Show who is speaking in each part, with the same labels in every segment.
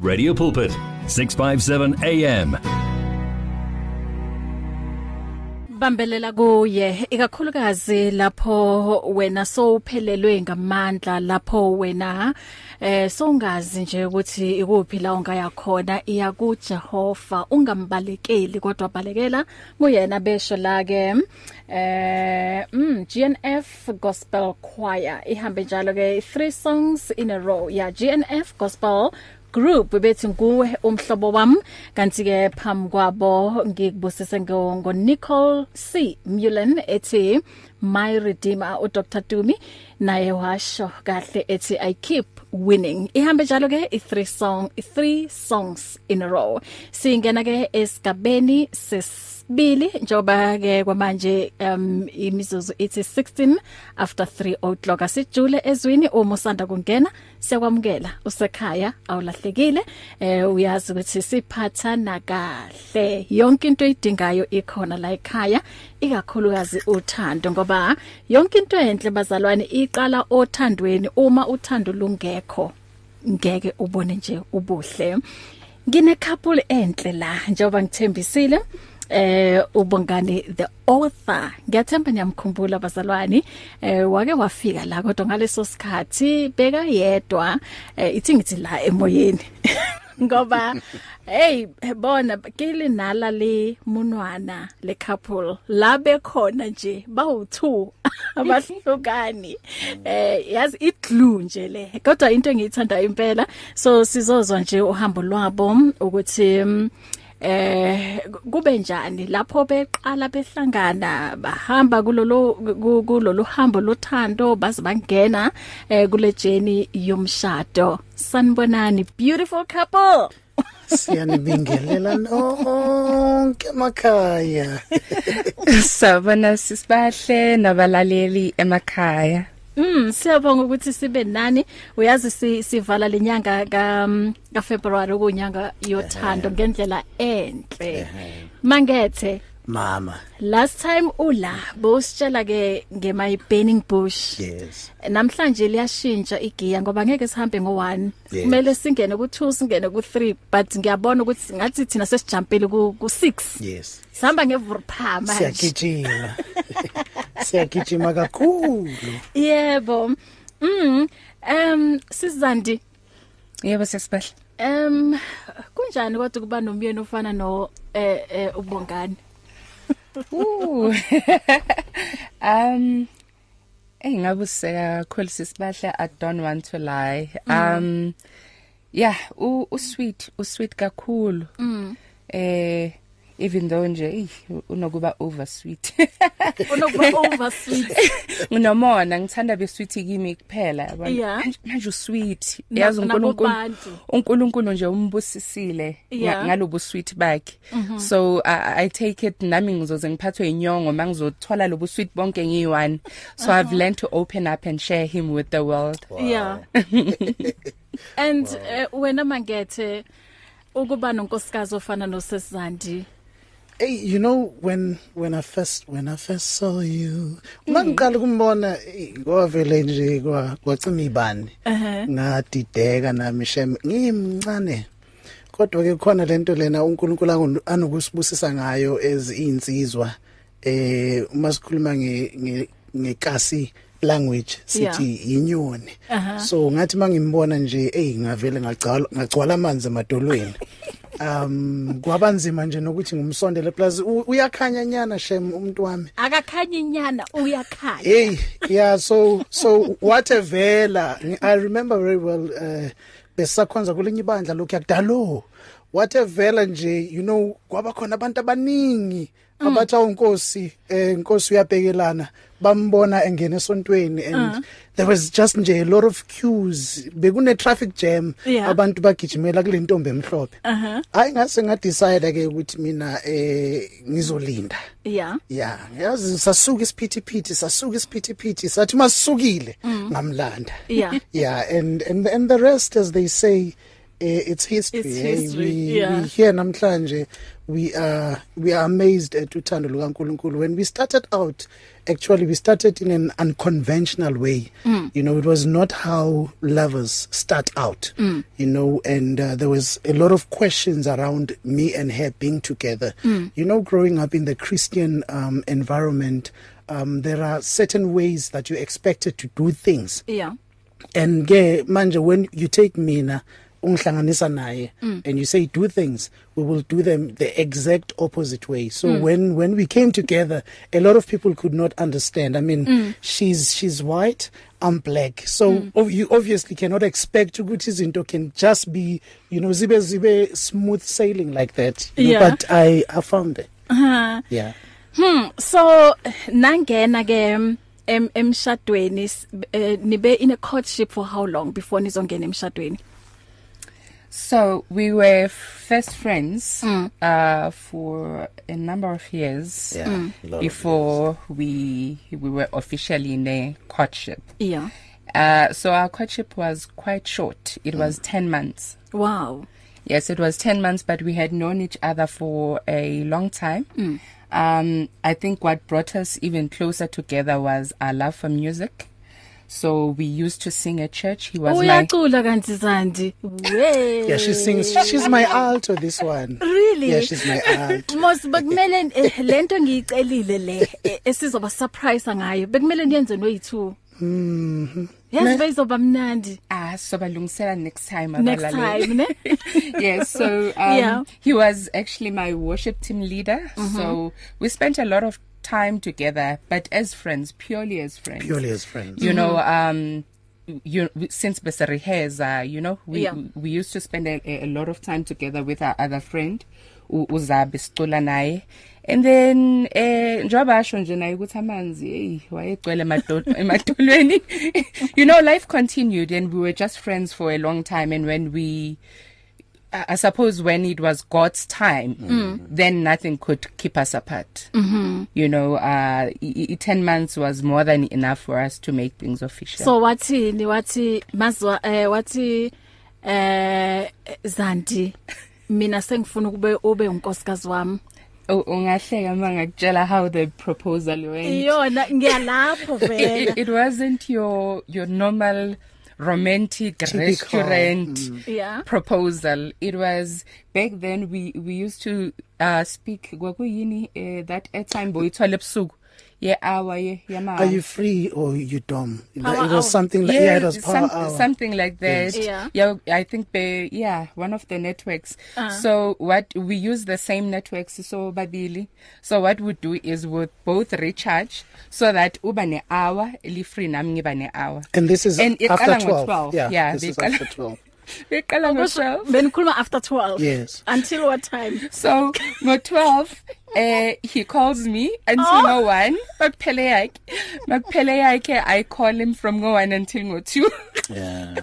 Speaker 1: Radio Pulpit, 657 AM.
Speaker 2: bambelela kuye ikakhulukazi lapho wena sowuphelelwe ngamandla lapho wena eh songazi nje ukuthi ikuphi la ongaya khona iya kuJehova ungambalekeli kodwa balekela kuyena besho la ke eh mm GNF Gospel Choir ihambe njalo ke three songs in a row ya GNF Gospel group bethi nguwe umhlobo wami kanti ke phambi kwabo ngikubusise ngo ngo Nicole C Mullen ethi my redeemer u Dr Dumi naye washo kahle ethi i keep winning ihambe njalo ke i three song i three songs in a row singena ke esigabeni ses bili njoba ke kwamanje um imizuzu ithi 16 after 3 o'clock asijule ezwini uma usanda kungena siyakwamukela usekhaya awulahlekile eh uyazi ukuthi siphathana kahle yonke into idingayo ikhona la ekhaya ikakhulukazi uthando ngoba yonke into enhle bazalwane iqala othandweni uma uthando lungekho ngeke ubone nje ubuhle ngine couple enhle la njoba ngithembisile eh ubongani the author ngiyathemba niyamkhumbula bazalwane eh wake wafika la kodwa ngaleso sikhathi beka yedwa eh, ithi ngithi la emoyeni ngoba hey bona kile nala le munwana le couple labe khona nje bawu2 abahlukani eh yazi iglu nje le kodwa into engiyithanda impela so sizozwa nje uhambo lwabo ukuthi mm, eh kube njani lapho beqala behlangana bahamba kulolo ku- kulolu hambo lothando baze bangena eh kule journey yomshado sanibonani beautiful couple
Speaker 3: siyanibingelela nonke emakhaya
Speaker 4: Sabona sisibahle nabalaleli emakhaya.
Speaker 2: Mm siyabonga ukuthi sibe nani uyazi si- sivala lenyanga ka ka February kunyanga yothando ngendlela enhle mangethe
Speaker 3: mama
Speaker 2: last time ula bositshela ke nge my burning bush
Speaker 3: yes
Speaker 2: namhlanje liyashintsha igiya ngoba ngeke sihambe ngo1
Speaker 3: Yes.
Speaker 2: kumele singene ku2 singene ku3 but ngiyabona ukuthi singathi thina sesijampile ku6
Speaker 3: yes
Speaker 2: sihamba ngevuruphama nje
Speaker 3: siyagijima siyagijima kakhulu
Speaker 2: yebo mm um sizandi
Speaker 4: Yebo sisibahle.
Speaker 2: um kunjani kodwa kuba nomyeni ofana no eh eh, ubongani
Speaker 4: Ooh. um Hey ngabuseka kakhulu sisibahle I don't want to lie. Um yeah, u u sweet, u sweet kakhulu. Mm. Eh even though nje eh, unokuba over sweet.
Speaker 2: unokuba over sweet
Speaker 4: Nginomona ngithanda be sweet kimi kuphela yabona.
Speaker 2: Yeah.
Speaker 4: Manje- Manje u sweet.
Speaker 2: Na-
Speaker 4: Yazi uNkulunkulu.
Speaker 2: nakubantu.
Speaker 4: uNkulunkulu nje umbusisile
Speaker 2: Yeah. Mhm.
Speaker 4: nga- ngalobu sweet bakhe so i i take it nami ngizoze ngiphathwe inyongo mangizothola lobu sweet bonke ngiyi1 so
Speaker 2: Uh-huh.
Speaker 4: i've learned to open up and share him with the world
Speaker 2: yeah and eh, wena mangethe ukuba nonkosikazi ofana nosesizandi
Speaker 3: hey you know when when i first when i first saw you mangiqala kumbona kwavele nje kwa kwacima ibani ngadideka nami shem ngimncane kodwa ke khona lento lena uNkulunkulu angu- anokusibusisa ngayo ezinsizwa eh uma sikhuluma nge nge- ngekasi language sithi inyoni so ngathi mangimbona nje hey ngavele ngagcwala ngagcwala amanzi emadolweni um kwabanzima nje nokuthi ngumsondele plus u- uyakhanya nyana shem umuntu wami
Speaker 2: akakhanyi inyana uyakhanya
Speaker 3: hey yeah so so what a vela i remember very well uh besakhonza kulinye ibandla lokhu yakudalo what a vela nje you know kwaba khona abantu abaningi abathi awunkosi eh inkosi uyabhekelana bambona engena esontweni and there was just nje a lot of queues bekune traffic jam
Speaker 2: Yeah.
Speaker 3: abantu bagijimela kule ntombi emhlophe hayi ngase ngadecide ke ukuthi mina eh ngizolinda
Speaker 2: yeah
Speaker 3: ya yazi sasuka isiphithiphithi sasuka isiphithiphithi sathi masukile ngamlanda
Speaker 2: Yeah.
Speaker 3: yeah and and and the rest as they say eh, it's history,
Speaker 2: It's
Speaker 3: eh,
Speaker 2: history,
Speaker 3: we,
Speaker 2: yeah.
Speaker 3: we here namhlanje we are we are amazed at uthando lukaNkuluNkulu when we started out actually we started in an unconventional way mm. you know it was not how lovers start out mm. you know and uh, there was a lot of questions around me and her being together mm. you know growing up in the Christian um environment um there are certain ways that you're expected to do things
Speaker 2: yeah
Speaker 3: and ke manje when you take mina ungihlanganisa naye and you say do things we will do them the exact opposite way so mm. when when we came together a lot of people could not understand i mean mm. she's she's white i'm black so mm. ov you obviously cannot expect ukuthi izinto can just be you know zibe zibe smooth sailing like that you know,
Speaker 2: Yeah.
Speaker 3: but i i found it uh-huh. yeah
Speaker 2: Hmm so nangena ke em emshadweni s- eh, nibe in a courtship for how long before nizongena emshadweni
Speaker 4: So we were first friends mm. uh, for a number of years
Speaker 3: Yeah, Mm. a lot of
Speaker 4: before we we were officially in a courtship.
Speaker 2: yeah
Speaker 4: Uh, so our courtship was quite short. It mm. was ten months.
Speaker 2: wow
Speaker 4: Yes, it was 10 months, but we had known each other for a long time. Mm. Um, I think what brought us even closer together was our love for music. So we used to sing at church. He was my.
Speaker 2: uyacula kanti Zandi we
Speaker 3: yeah she sings she's my alto this one
Speaker 2: Really?
Speaker 3: yeah she's my alto
Speaker 2: Mos bekumele eh, lento ngiyicelile le eh, esizoba surprise ngayo bekumele niyenze noyithu mhm yes bayizoba mnandi
Speaker 4: Ah, so balungisela next time.
Speaker 2: next
Speaker 4: abalaleli.
Speaker 2: time ne
Speaker 4: yes, so um,
Speaker 2: Yeah.
Speaker 4: yeah. he was actually my worship team leader. Mm-hmm. So we spent a lot of time together, but as friends, purely as friends.
Speaker 3: purely as friends
Speaker 4: you know um you since besariheza you know we
Speaker 2: Yeah.
Speaker 4: we used to spend a, a lot of time together with our other friend u- uzabe sicula naye and then eh njoba asho nje naye ukuthi amanzi hey wayegcwele emadol- emadolweni you know life continued and we were just friends for a long time and when we I I suppose when it was God's time, mm. then nothing could keep us apart. Mm-hmm. You know, uh, i- i- 10 months was more than enough for us to make things official.
Speaker 2: so wathini wathi mazwa eh wathi eh Zandi mina sengifuna ukube ube unkosikazi wami
Speaker 4: U- Oh, ungahleka mangakutshela how the proposal went.
Speaker 2: iyona ngiyalapho
Speaker 4: It,
Speaker 2: vele
Speaker 4: it, it wasn't your your normal romantic Typical. restaurant mm.
Speaker 2: yeah
Speaker 4: proposal. It was back then we we used to uh, speak kwakuyini uh, that airtime boyithola ebusuku. Yeah, hour yeah, yeah,
Speaker 3: Are you free or you dumb?
Speaker 2: Power
Speaker 3: it was
Speaker 2: hour.
Speaker 3: something like yeah, yeah it was power
Speaker 4: some,
Speaker 3: hour.
Speaker 4: something like that.
Speaker 2: Yeah.
Speaker 4: yeah, I think they, yeah, one of the networks. Uh-huh. So what we use the same networks. So babili. So what we do is we both recharge so that uba ne hour, li free nam ngiba ne hour.
Speaker 3: and this is
Speaker 4: and iqala
Speaker 3: after 12.
Speaker 4: ngo 12.
Speaker 3: Yeah,
Speaker 4: Yeah,
Speaker 3: this is
Speaker 4: beqala-
Speaker 3: after 12.
Speaker 4: Beqala ngo 12.
Speaker 2: benikhuluma after 12
Speaker 3: Yes.
Speaker 2: until what time
Speaker 4: So ngo 12 eh he calls me until ngo 1 maphele yakhe maphele yakhe I call him from ngo 1 until ngo 2
Speaker 3: Yeah.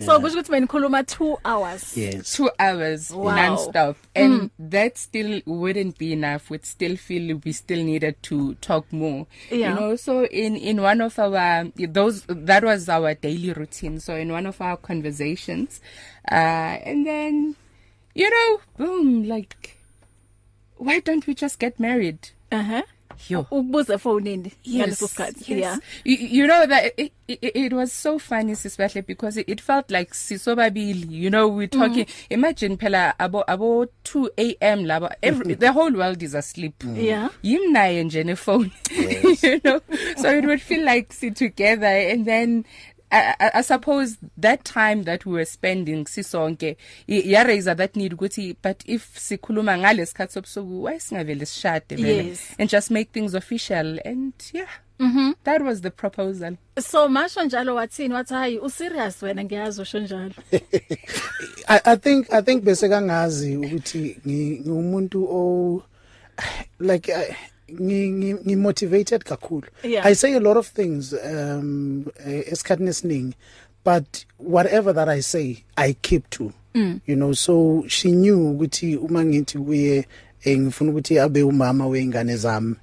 Speaker 2: so kusho ukuthi benikhuluma 2 hours
Speaker 3: Yes.
Speaker 4: 2 hours
Speaker 2: Wow.
Speaker 4: non-stop and mm. that still wouldn't be enough we'd still feel we still needed to talk more
Speaker 2: Yeah.
Speaker 4: you know so in in one of our those that was our daily routine so in one of our conversations uh and then you know boom like why don't we just get married
Speaker 2: ehe
Speaker 4: yo
Speaker 2: ubuze phone ngaleso sikhathi yeah
Speaker 4: you, you know that it, it, it was so funny sisibahle because it, it felt like sisobabili you know we're talking mm. imagine phela abo abo 2 am labo every the whole world is asleep
Speaker 2: Mm-hmm. Mm. Yeah.
Speaker 4: yimnaye nje nephone you know so it would feel like sit together and then I, I, I suppose that time that we were spending sisonke ya raise that need ukuthi but if sikhuluma ngalesikhathi sobusuku why singavele sishade vele
Speaker 2: Yes.
Speaker 4: and just make things official and yeah mm-hmm. that was the proposal
Speaker 2: so masho njalo wathini wathi hayi u serious wena ngiyazi usho njalo
Speaker 3: I I think I think bese kangazi ukuthi ngi- ngiwumuntu o like I- ngi ngi- ngi motivated kakhulu.
Speaker 2: Yeah.
Speaker 3: I say a lot of things um eh, esikhathini esiningi but whatever that I say I keep to. Mm. You know so she knew ukuthi uma ngithi kuye eh ngifuna ukuthi abe umama weingane zami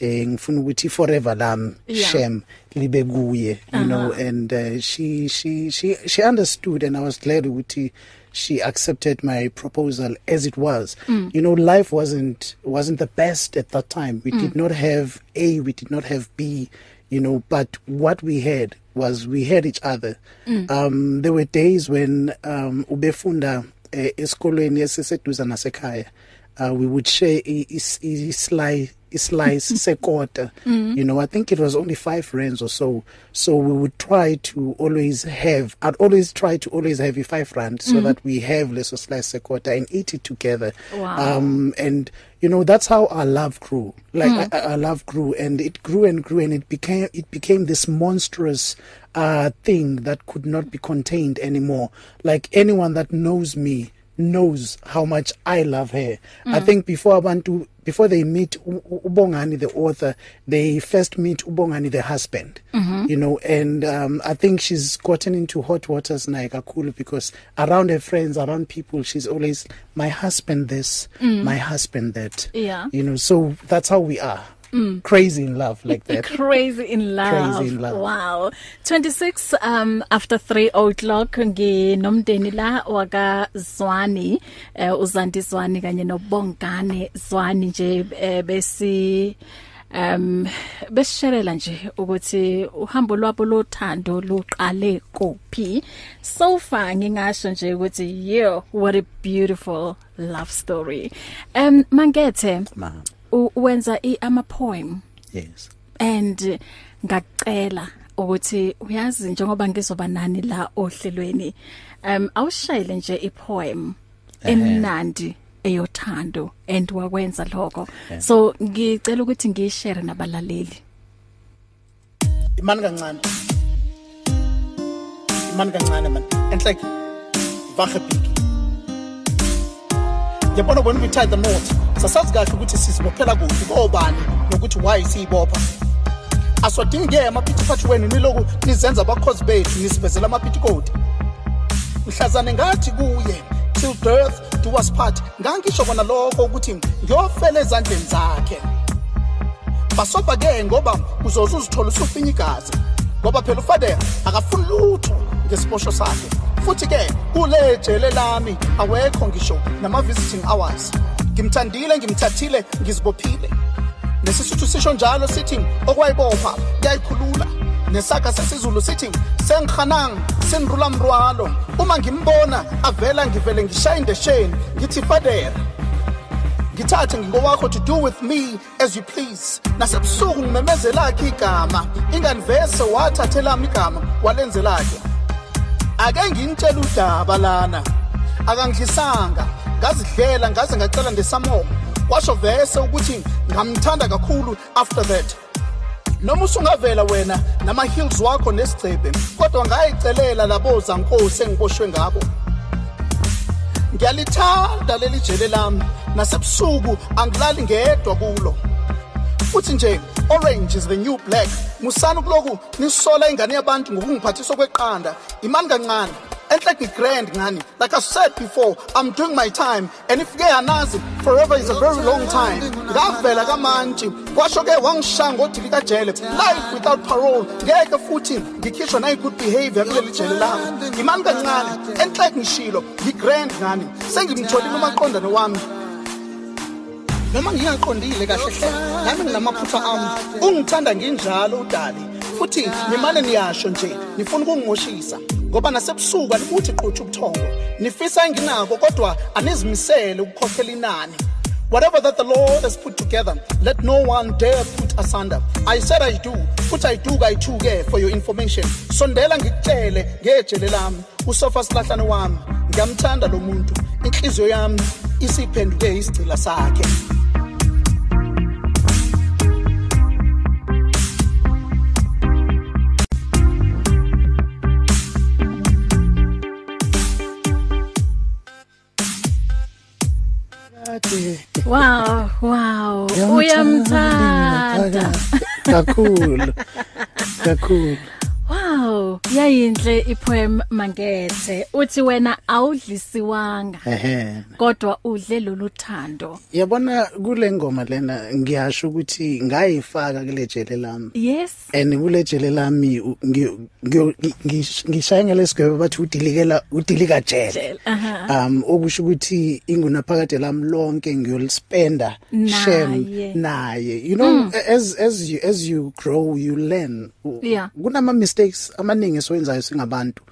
Speaker 3: eh ngifuna ukuthi forever lam
Speaker 2: Mm. Yeah. Uh-huh.
Speaker 3: shem libe eh, kuye you know and uh, she she she she understood and I was glad ukuthi
Speaker 5: she accepted my proposal as it was. Mm. You know, life wasn't wasn't the best at that time. We mm. did not have A, we did not have B, you know, but what we had was we had each other. Mm. Um there were days when um ubefunda eh, esikolweni esiseduze nasekhaya. Uh, we would share a, a, a slice a slice sekota mm. you know i think it was only 5 rands or so so we would try to always have i'd always try to always have a 5 rand so mm. that we have less slice sekota and eat it together
Speaker 2: wow.
Speaker 5: um and you know that's how our love grew like mm. our, our love grew and it grew and grew and it became it became this monstrous uh thing that could not be contained anymore like anyone that knows me knows how much I love her. Mm. I think before abantu before they meet Ubongani the author, they first meet Ubongani the husband.
Speaker 2: Mm -hmm.
Speaker 5: You know, and um I think she's gotten into hot waters now kakhulu because around her friends, around people, she's always my husband this, mm. my husband that.
Speaker 2: Yeah.
Speaker 5: You know, so that's how we are. Mm. crazy in love like that
Speaker 2: crazy in love
Speaker 5: crazy in love
Speaker 2: wow 26 um after 3 o'clock nginomndeni la waka Zwani uh, uzanti Zwani kanye nobongane Zwani nje uh, besi um besisherela nje ukuthi uhambo lwabo lothando luqale kuphi so far ngingasho nje ukuthi yeah what a beautiful love story um mangethe
Speaker 5: mama
Speaker 2: wenza ama poem
Speaker 5: yes
Speaker 2: and eh, ngacela ukuthi uyazi njengoba ngizoba nani la ohlelweni um awushayile nje i poem emnandi eyothando and wakwenza lokho so ngicela ukuthi ngishare nabalaleli
Speaker 5: imani kancane imani kancane man enhle vahe big yabona when we tie the knot sasazi kahle ukuthi sizibophela kuphi kobani nokuthi why siyibopha aswadingeke amaphithiphathi wenu niloku nizenza abakhozi bethu nisivezela amaphitikodi mhlazane ngathi kuye till death do us part ngangisho kona lokho ukuthi ngiyofela ezandleni zakhe basoba-ke ngoba uzoze uzithola usufinya igazi ngoba phela ufadera akafuni lutho ngesiposho sakhe futhi-ke kule jele lami awekho ngisho nama-visiting hours ngimthandile ngimthathile ngizibophile nesisuthu sisho njalo sithi okwayibopha kuyayikhulula nesaga sesizulu sithi sengihanang senirula mrwalo uma ngimbona avela ngivele ngishaye indesheni ngithi fadera ngithathe ngingowakho to do with me as you please nasebusuku ngimemezelakhe igama inganivese wathathelami igama walenzelakhe ake nginitshela udaba lana akangidlisanga ngazidlela ngaze ngacela ngesamomo kwasho vese ukuthi ngamthanda kakhulu after that noma usungavela wena nama-heels wakho nesigcebe kodwa ngayicelela labo zankosi engiboshwe ngabo ngiyalithanda leli jele lami nasebusuku angilali ngedwa kulo futhi nje orange is the new black musani kuloku nisola ingane yabantu ngokungiphathiswa kweqanda imali kancane enhle ngi-grand ngani like i said before i'm doing my time and if ke yanazi forever is a very long time ngavela kamantshi kwasho ke wangishaya ngodili kajele life without parole ngeke futhi ngikhishwa nayi-good behavior kuleli jele lami imali kancane enhle ngishilo ngi-grand ngani sengimtholile umaqondane wami noma ngingaqondile kahle hle nami nginamaphutha ami ungithanda nginjalo udali futhi nimane niyasho nje nifuna ukungimoshisa ngoba nasebusuku anibuthi quthi ubuthongo nifisa enginako kodwa anizimisele ukukhokhela inani Whatever that the Lord has put together, let no one dare put asunder. I said I do, futhi I do kayi two ke for your information. Sondela ngikutshele ngejele lami, usofa silahlane wami. Ngiyamthanda lo muntu, inhliziyo yami isiphenduke isigcila sakhe.
Speaker 2: Wow, wow. Uyamthanda.
Speaker 5: kakhulu kakhulu
Speaker 2: Wow. Wow, yayinhle ipoem Mangeze. Uthi wena awudlisiwanga
Speaker 3: ehe
Speaker 2: kodwa udle lolu thando.
Speaker 3: yabona kule ngoma lena ngiyasho ukuthi ngayifaka kule jele lami
Speaker 2: Yes.
Speaker 3: and kule jele lami u- ngi- ngiyo- ngi- ngishaye ngelesigwebo bathi udilikela udilika jele
Speaker 2: Jele, aha.
Speaker 3: um okusho ukuthi inguna phakade lami lonke ngiyolispenda
Speaker 2: Naye. Hmm.
Speaker 3: naye you know mm. as as you as you grow you learn U-
Speaker 2: Yeah. Hmm.
Speaker 3: kunama mistakes amaningi esiwenzayo singabantu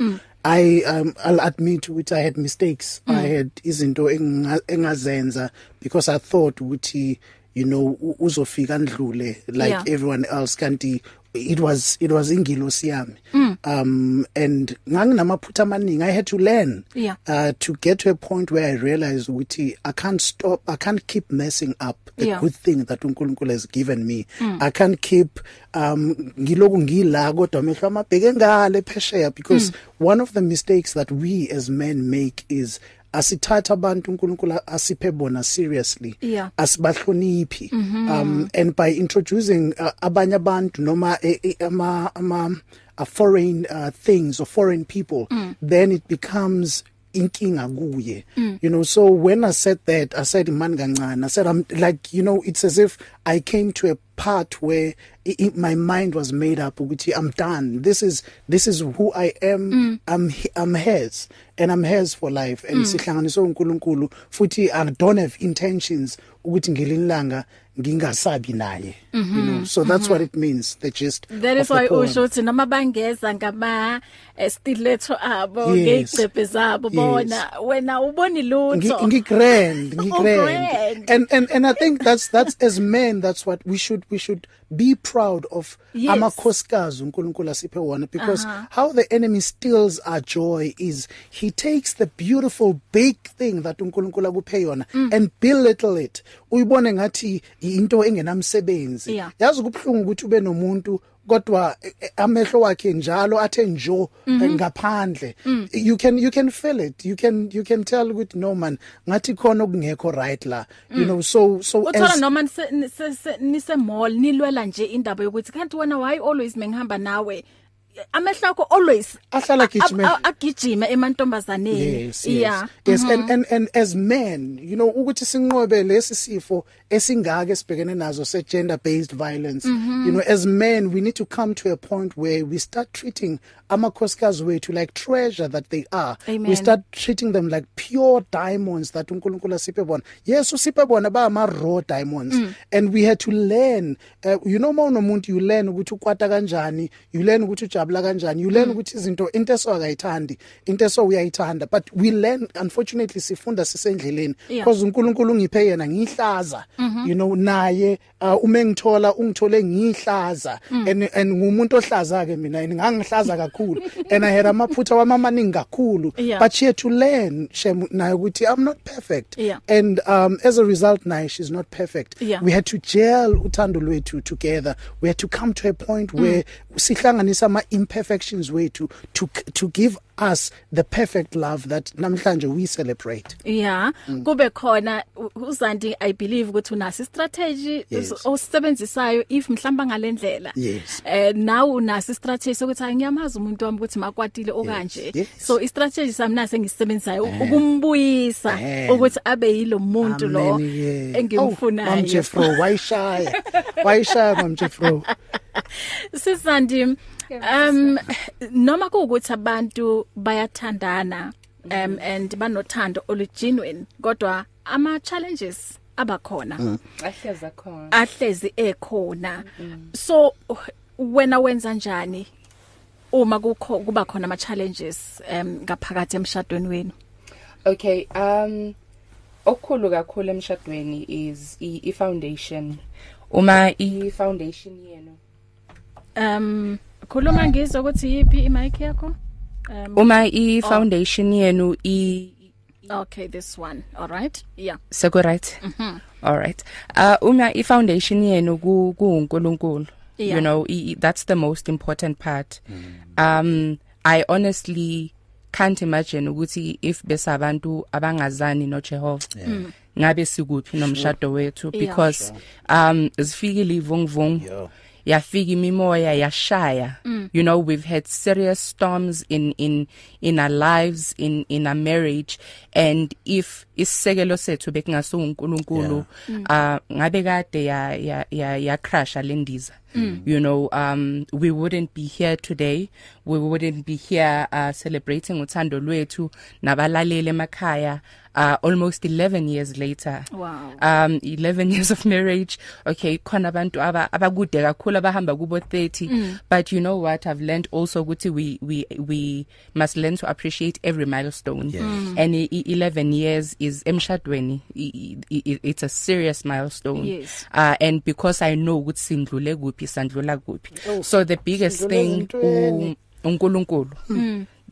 Speaker 3: I um, I'll admit ukuthi I had mistakes mm.
Speaker 2: Hmm.
Speaker 3: I had izinto enga- engazenza because I thought ukuthi you know u- uzofika ndlule like
Speaker 2: Yeah.
Speaker 3: everyone else kanti it was it was ingilosi yami
Speaker 2: Hmm.
Speaker 3: mm. um and nganginamaphutha amaningi I had to learn
Speaker 2: Yeah.
Speaker 3: uh, to get to a point where I realized ukuthi I can't stop I can't keep messing up the
Speaker 2: Yeah.
Speaker 3: good thing that uNkulunkulu has given me mm. I can't keep um ngiloku ngila kodwa amehlo amabheke ngale phesheya because mm. one of the mistakes that we as men make is asithatha abantu uNkulunkulu asiphe bona seriously
Speaker 2: Yeah.
Speaker 3: asibahloniphi um and by introducing uh, abanye abantu noma e- e- ama ama a foreign uh, things or foreign people mm. then it becomes inkinga kuye mm. you know so when i said that i said imani kancane i said i'm like you know it's as if i came to a part where i i my mind was made up ukuthi i'm done this is this is who i am mm. i'm he- i'm hers and i'm hers for life and mm. sihlanganiswe uNkulunkulu futhi i don't have intentions ukuthi ngelinilanga ngingasabi naye mm -hmm. you know so that's mm -hmm. what it means the gist
Speaker 2: Mm-hmm. That is
Speaker 3: of the
Speaker 2: why
Speaker 3: poem.
Speaker 2: usho ukuthi noma bangeza ngama eh, stiletto abo
Speaker 3: Yes.
Speaker 2: ngegcebe zabo bona wena uboni
Speaker 3: Ngi-
Speaker 2: lutho.
Speaker 3: ngi-grand
Speaker 2: Oh, grand.
Speaker 3: ngi-grand and, and and i think that's that's as men that's what we should we should be proud of
Speaker 2: Yes.
Speaker 3: amakhosikazi unkulunkulu asiphe wona because uh -huh. how the enemy steals our joy is he takes the beautiful big thing that unkulunkulu akuphe yona mm. and belittle it uyibone ngathi into engenamsebenzi
Speaker 2: Yeah.
Speaker 3: yazi kubhlungu ukuthi ube nomuntu kodwa eh, eh, amehlo wakhe njalo athe njo
Speaker 2: Mhm.
Speaker 3: eh, ngaphandle
Speaker 2: Mm.
Speaker 3: you can you can feel it you can you can tell ukuthi no man ngathi khona okungekho right la you know so so
Speaker 2: Mm. Uthola
Speaker 3: as
Speaker 2: noma nise- nise se- nise mall nilwela nje indaba yokuthi kanti wena why always mengihamba nawe amehlo akho always
Speaker 3: ahlala
Speaker 2: a-
Speaker 3: gijima
Speaker 2: a- agijima emantombazaneni
Speaker 3: yes yes yes and and and as men you know ukuthi sinqobe lesi sifo esingaka esibhekene nazo se gender based violence you know as men we need to come to a point where we start treating amakhosikazi wethu like treasure that they are we
Speaker 2: Amen.
Speaker 3: start treating them like pure diamonds that uNkulunkulu asiphe bona yes usiphe bona ba ama raw diamonds mm. and we had to learn uh, you know mawuno muntu you learn ukuthi ukwata kanjani you learn ukuthi ujabula kanjani you learn ukuthi izinto into eso akayithandi into eso uyayithanda but we learn unfortunately sifunda sisendleleni
Speaker 2: Yeah. Mm-hmm.
Speaker 3: because uNkulunkulu ngiphe yena ngihlaza you know naye uh, ume ngithola ungithole ngihlaza
Speaker 2: Mm.
Speaker 3: and and ngumuntu ohlaza ke mina and ngangihlaza kakhulu and i had amaphutha wamamaningi kakhulu
Speaker 2: Yeah.
Speaker 3: but she had to learn Shem naye ukuthi I'm not perfect
Speaker 2: Yeah.
Speaker 3: and um as a result naye she's not perfect
Speaker 2: Yeah.
Speaker 3: we had to gel uthando lwethu together we had to come to a point
Speaker 2: Mm.
Speaker 3: where sihlanganisa ama imperfections wethu to to give us the perfect love that namhlanje we celebrate
Speaker 2: yeah
Speaker 3: Mm.
Speaker 2: kube khona u- uzandi i believe ukuthi unaso strategy
Speaker 3: Yes.
Speaker 2: os- osisebenzisayo if mhlamba ngalendlela
Speaker 3: Yes.
Speaker 2: eh now unaso strategy sokuthi angiyamazi umuntu wami ukuthi makwatile okanje
Speaker 3: yes.
Speaker 2: so i strategy sami nase ngisisebenzayo ukumbuyisa
Speaker 3: Eh.
Speaker 2: ukuthi abe yilo muntu lo
Speaker 3: Amen, yeah. Oh,
Speaker 2: engimfunayo
Speaker 3: Mamjefro wayishaya wayishaya Mamjefro
Speaker 2: Sisandi um noma kuukuthi abantu bayathandana um and banothando olugenuine kodwa ama challenges
Speaker 3: Mm.
Speaker 2: abakhona
Speaker 4: ahleza khona
Speaker 2: ahlezi ekhona so wena wenza njani uma kukho kuba khona ama challenges um ngaphakathi emshadweni wenu
Speaker 4: Okay, um okukhulu kakhulu emshadweni is i, i foundation. Uma i foundation yenu.
Speaker 2: um khuluma ngizwe ukuthi yipi i mic yakho um
Speaker 4: Uma i foundation yenu i
Speaker 2: okay this one all right yeah
Speaker 4: seku right?
Speaker 2: Mm-hmm.
Speaker 4: Mhm. All right. Uh uma i foundation yenu ku kuNkulunkulu.
Speaker 2: Yeah.
Speaker 4: You know, i, i- that's the most important part. Mm. Um I honestly can't imagine ukuthi if besabantu abangazani noJehova. Yeah. ngabe sikuphi nomshado wethu
Speaker 2: Mm. Yeah.
Speaker 4: because um sifikile ivungvung
Speaker 3: Yo.
Speaker 4: yafika imimoya yashaya you know we've had serious storms in in in our lives in in our marriage and if isisekelo sethu bekungasu uNkulunkulu uh ngabe kade ya ya ya ya crasha lendiza you know um we wouldn't be here today we wouldn't be here uh celebrating uthando lwethu nabalaleli emakhaya uh almost 11 years later
Speaker 2: Wow.
Speaker 4: um 11 years of marriage okay khona abantu aba abakude kakhulu abahamba kubo 30 mm. but you know what I've learned also ukuthi we we we must learn to appreciate every milestone yes. mm. and i- i- 11 years is emshadweni i- i- i- it's a serious milestone
Speaker 2: Yes.
Speaker 4: uh and because I know ukuthi sindlule kuphi sandlula kuphi so the biggest thing
Speaker 3: Sindlule
Speaker 4: u-
Speaker 3: Oh, ezintweni. Hmm.
Speaker 4: uNkulunkulu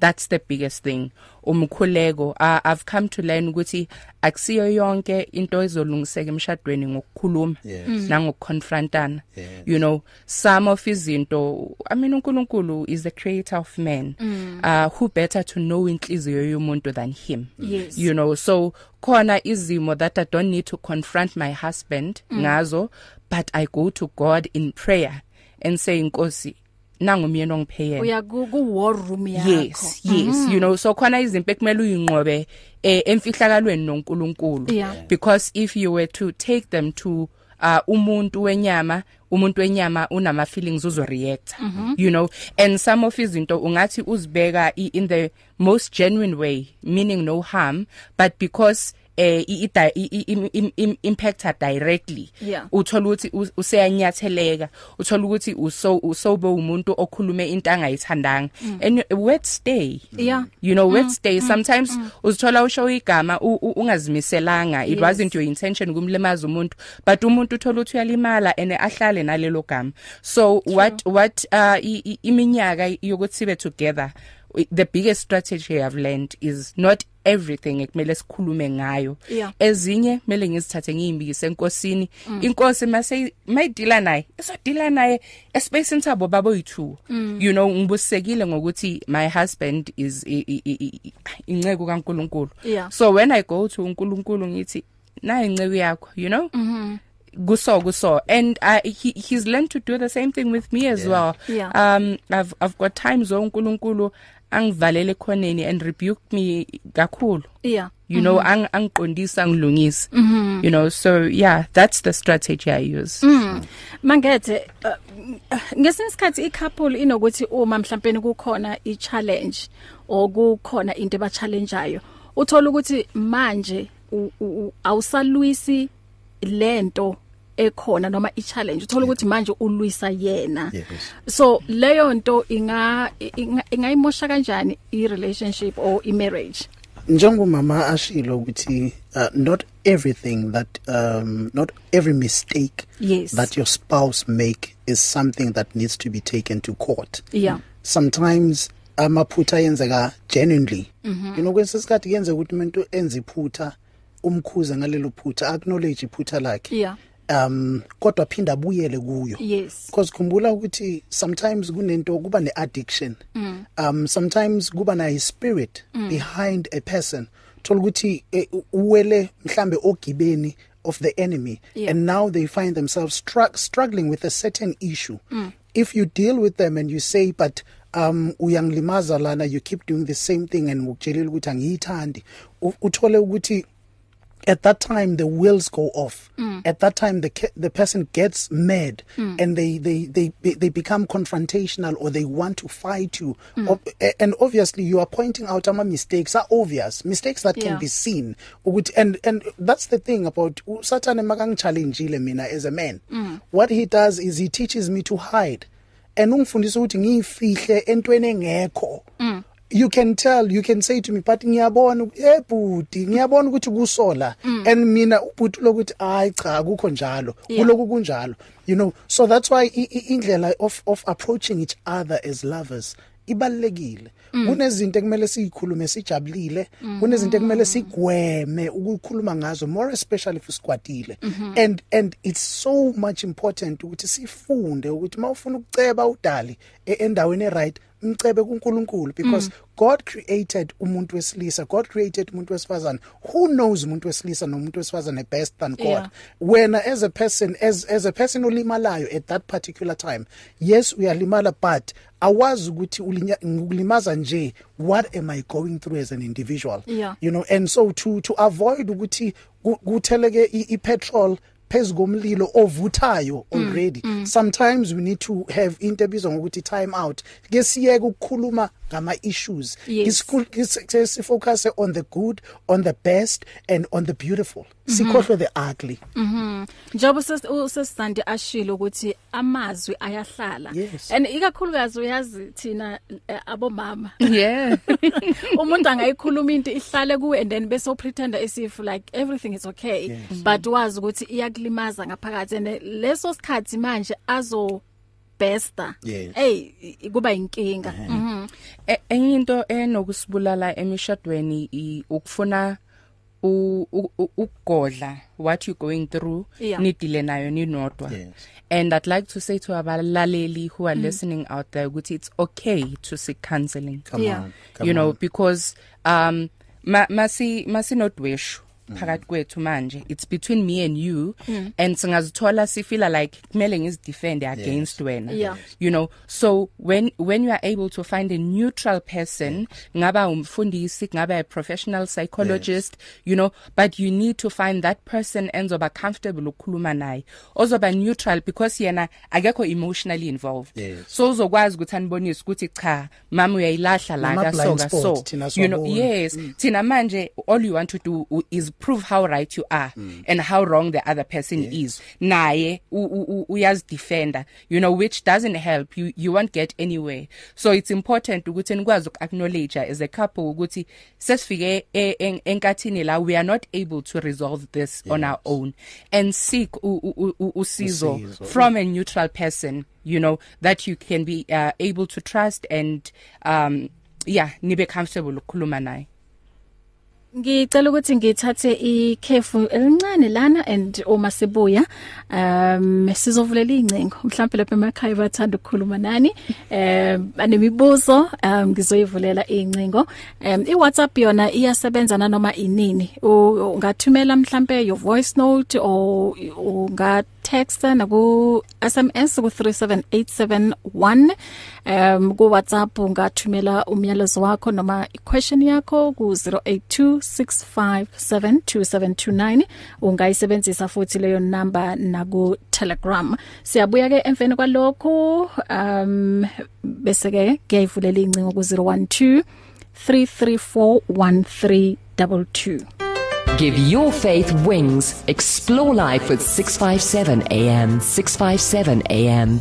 Speaker 4: that's the biggest thing umkhuleko uh, i've come to learn ukuthi akusiyo yonke into ezolungiseka emshadweni ngokukhuluma
Speaker 3: Yes.
Speaker 4: nangokuconfrontana
Speaker 3: Yes.
Speaker 4: you know some of izinto i mean uNkulunkulu is the creator of man uh who better to know inhliziyo yomuntu than him
Speaker 2: Yes.
Speaker 4: you know so khona izimo that i don't need to confront my husband ngazo but i go to god in prayer and say inkosi nangu myena ongipheyela
Speaker 2: uya ku ku war room yakho Mm.
Speaker 4: yes yes you know so khona izinto ekumele uyinqobe eh, emfihlakalweni noNkulunkulu
Speaker 2: Yeah.
Speaker 4: because if you were to take them to uh umuntu wenyama umuntu wenyama unama feelings uzo react mm
Speaker 2: Mm-hmm.
Speaker 4: -hmm. you know and some of izinto ungathi uzibeka i- in the most genuine way meaning no harm but because eh i- i- di- i- i- im- im- im- impacta directly
Speaker 2: Yeah.
Speaker 4: uthola ukuthi u- useyanyatheleka uthola ukuthi uso usobe umuntu okhulume into angayithandanga and wet stay
Speaker 2: Mm. Yeah. Mm,
Speaker 4: you know wet stay sometimes uzithola usho igama u- u- ungazimiselanga
Speaker 2: Yes.
Speaker 4: it wasn't your intention kumlemaza umuntu but umuntu uthola ukuthi uyalimala and ahlale nalelo gama so what what uh i- i- iminyaka yokuthi sibe together the biggest strategy i've learned is not everything ekumele sikhulume ngayo
Speaker 2: Yeah.
Speaker 4: ezinye mele ngizithathe ngiyimbikise enkosini inkosi mase mayidila naye isodila naye espacing sabo babo yithu
Speaker 2: Mm.
Speaker 4: you know ngibusekile ngokuthi my husband is i- i- i- i- inceku kaNkuluNkulu
Speaker 2: Yeah.
Speaker 4: so when i go to uNkuluNkulu ngithi nayi inceku yakho you know
Speaker 2: Mm-hmm.
Speaker 4: guso guso and uh, he he's learned to do the same thing with me as yeah. well
Speaker 2: Yeah.
Speaker 4: um i've i've got times uNkuluNkulu angivalele khoneni and rebuked me kakhulu
Speaker 2: yeah
Speaker 4: you know ang angiqondisa ngilungisa you know so yeah that's the strategy i use
Speaker 2: Hmm. mangethe uh, ngesinye isikhathi i-couple inokuthi uma mhlawumbe kukhona i-challenge okukhona into eba-challengeayo uthola ukuthi manje u- u- u- awusalwisi lento ekhona noma i-challenge uthola ukuthi manje ulwisa yena
Speaker 3: Yes.
Speaker 2: so leyo nto inga inga- ingayimosha kanjani i-relationship or i-marriage
Speaker 3: njengomama ashilo ukuthi uh, not everything that um not every mistake
Speaker 2: Yes.
Speaker 3: that your spouse make is something that needs to be taken to court
Speaker 2: yeah
Speaker 3: sometimes amaphutha yenzeka genuinely
Speaker 2: Mhm.
Speaker 3: you know kwesikhathi kuyenzeka ukuthi umuntu enze iphutha umkhuze ngalelo phutha acknowledge iphutha lakhe
Speaker 2: yeah
Speaker 3: um kodwa phinda abuyele kuyo
Speaker 2: yes
Speaker 3: because khumbula ukuthi sometimes kunento kuba neaddiction mm. um sometimes kuba na spirit mm. behind a person thola ukuthi eh, u- uwele mhlambe ogibeni of the enemy
Speaker 2: Yeah.
Speaker 3: and now they find themselves struck, struggling with a certain issue mm. if you deal with them and you say but um uyangilimaza lana you keep doing the same thing and ukutshelela ukuthi angiyithandi u- uthole ukuthi at that time the wheels go off mm. at that time the ca- the person gets mad mm. and they they they be- they become confrontational or they want to fight you mm. Ob- a- and obviously you are pointing out ama mistakes are obvious mistakes that yeah.
Speaker 2: Yeah.
Speaker 3: can be seen ukuthi and and that's the thing about u- Satan makangichallengile mina as a man mm. what he does is he teaches me to hide and ungifundisa ukuthi ngiyifihle entweni engekho you can tell you can say to me but ngiyabona hey budi ngiyabona ukuthi kusola and mina ubhuti lokuthi hayi cha akukho njalo
Speaker 2: Yeah.
Speaker 3: kuloku kunjalo you know so that's why i- i- indlela of of approaching each other as lovers ibalekile kunezinto ekumele sizikhulume sijabulile kunezinto ekumele sigweme ukukhuluma ngazo more especially if usigwadile and and it's so much important ukuthi sifunde ukuthi mawufuna ukuceba udali e- endaweni right umcebe kuNkulunkulu because God created umuntu wesilisa God created umuntu wesifazane who knows umuntu wesilisa nomuntu wesifazane best than God
Speaker 2: Yeah.
Speaker 3: yeah. wena as a person as as a person olimalayo at that particular time yes uyalimala but awazi ukuthi ulinya- ngikulimaza nje what am i going through as an individual
Speaker 2: Yeah.
Speaker 3: you know and so to to avoid ukuthi ku- kutheleke i- ipetrol phezukomlilo ovuthayo already mm, mm. sometimes we need to have into ebizwa ngokuthi time out ke siyeke ukukhuluma ngama issues
Speaker 2: Yes.
Speaker 3: sifocus on the good on the best and on the beautiful sikhohle the ugly
Speaker 2: njengoba uses- usesisandi ashilo ukuthi amazwi ayahlala
Speaker 3: Yes.
Speaker 2: and ikakhulukazi uyazi thina eh, abomama
Speaker 4: yeah
Speaker 2: umuntu angayikhuluma into ihlale kuwe and then bese upretenda isif like everything is okay yes. but wazi ukuthi iyakulimaza ngaphakathi and leso sikhathi manje azo besta
Speaker 3: Yes.
Speaker 2: hey i- kuba inkinga mhm
Speaker 4: E- enye into enokusibulala emishadweni i- ukufuna u- u- u- ukugodla what you going through
Speaker 2: Yeah.
Speaker 4: nidile nayo ninodwa
Speaker 3: Yes.
Speaker 4: and i'd like to say to abalaleli who are mm. listening out there ukuthi it's okay to seek counseling
Speaker 3: come
Speaker 2: Yeah.
Speaker 3: on come
Speaker 4: you know
Speaker 3: on.
Speaker 4: because um ma- masi masinodweshu phakathi kwethu manje it's between me and you mm. and singazithola sifila like kumele ngizidefend against yes. wena
Speaker 2: Yeah.
Speaker 4: you know so when when you are able to find a neutral person ngaba umfundisi ngaba a professional psychologist yes. you know but you need to find that person enzoba comfortable ukukhuluma naye ozoba neutral because yena akekho emotionally involved
Speaker 3: Yes.
Speaker 4: so uzokwazi ukuthi anibonise ukuthi cha mama uyayilahla la
Speaker 3: Nama
Speaker 4: ka so
Speaker 3: blind
Speaker 4: ka
Speaker 3: spots
Speaker 4: so
Speaker 3: thina
Speaker 4: you know
Speaker 3: siwabona.
Speaker 4: yes mm. thina manje all you want to do u- is prove how right you are mm. and how wrong the other person yes. is naye u- u- u- uyazidefenda you know which doesn't help you you won't get anywhere so it's important ukuthi nikwazi ukuacknowledge as a couple ukuthi sesifike e- en- enkathini la we are not able to resolve this yes. on our own and seek u- u- u- usizo
Speaker 3: Usizo.
Speaker 4: from a neutral person you know that you can be uh, able to trust and um yeah nibe comfortable ukukhuluma naye
Speaker 2: ngicela ukuthi ngithathe ikhefu elincane lana and uma sibuya um sizovulela incingo mhlawumbe lapha emakhaya bathanda ukukhuluma nani um anemibuzo um ngizoyivulela incingo um iWhatsApp yona iyasebenza nanoma inini U- ungathumela mhlawumbe your voice note or unga text na ku SMS ku 37871 um ku WhatsApp ungathumela umyalezo wakho noma iquestion yakho ku 0826572729 ungayisebenzisa futhi leyo number na ku Telegram siyabuya ke emveni kwalokho um bese ke ngiyayivulela incingo ku 012 3341322
Speaker 6: Give your faith wings. Explore life with 657 AM. 657 AM.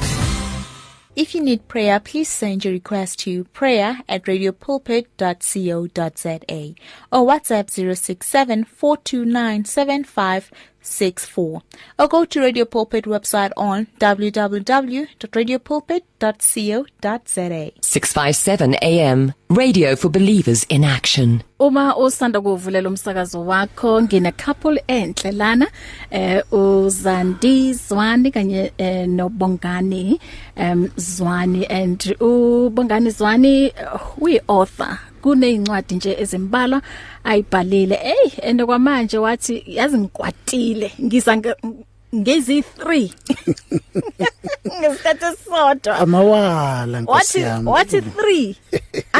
Speaker 7: If you need prayer, please send your request to prayer at radiopulpit.co.za or WhatsApp 067-429-7564 or go to Radio Pulpit website on www.radiopulpit.co.za.
Speaker 6: 657 AM. Radio for believers in action.
Speaker 2: Uma usanda kuvulela umsakazo wakho ngine couple enhle lana eh uzandi Zwani kanye eh, nobongani em Zwani and ubongani Zwani we author kunezincwadi nje ezimbalwa ayibhalile hey ende kwamanje wathi yazi ngikwatile ngisa nge- ngezi 3 ngesikhathe sodwa
Speaker 3: amawala
Speaker 2: what
Speaker 3: nkosi
Speaker 2: is
Speaker 3: yami
Speaker 2: what is 3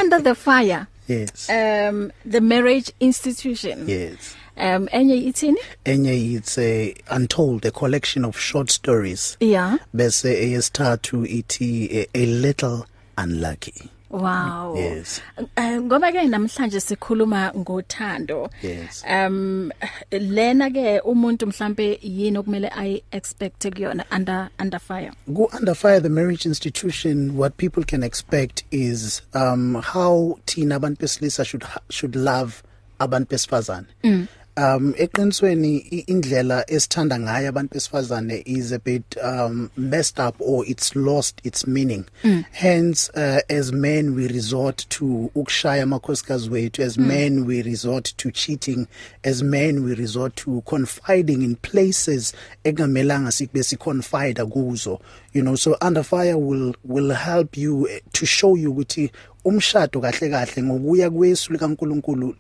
Speaker 2: under the fire
Speaker 3: yes
Speaker 2: um the marriage institution
Speaker 3: yes
Speaker 2: um enye ithini
Speaker 3: enye it's a untold a collection of short stories
Speaker 2: yeah
Speaker 3: bese eyesithathu ithi a, a little unlucky
Speaker 2: wow
Speaker 3: Yes.
Speaker 2: um ngoba ke namhlanje sikhuluma ngothando
Speaker 3: Yes.
Speaker 2: um lena ke umuntu mhlambe yini okumele ayi expect kuyona under under fire
Speaker 3: go under fire the marriage institution what people can expect is um how teen abantu besilisa should ha- should love abantu besifazane mm. um eqinisweni i- indlela esithanda ngayo abantu besifazane is a bit um messed up or it's lost its meaning mm. hence uh, as men we resort to ukushaya amakhosikazi wethu as mm. men we resort to cheating as men we resort to confiding in places ekungamelanga sikube siconfide kuzo you know so under fire will will help you eh, to show you ukuthi umshado kahle kahle ngokuya kwesu likaNkuluNkulu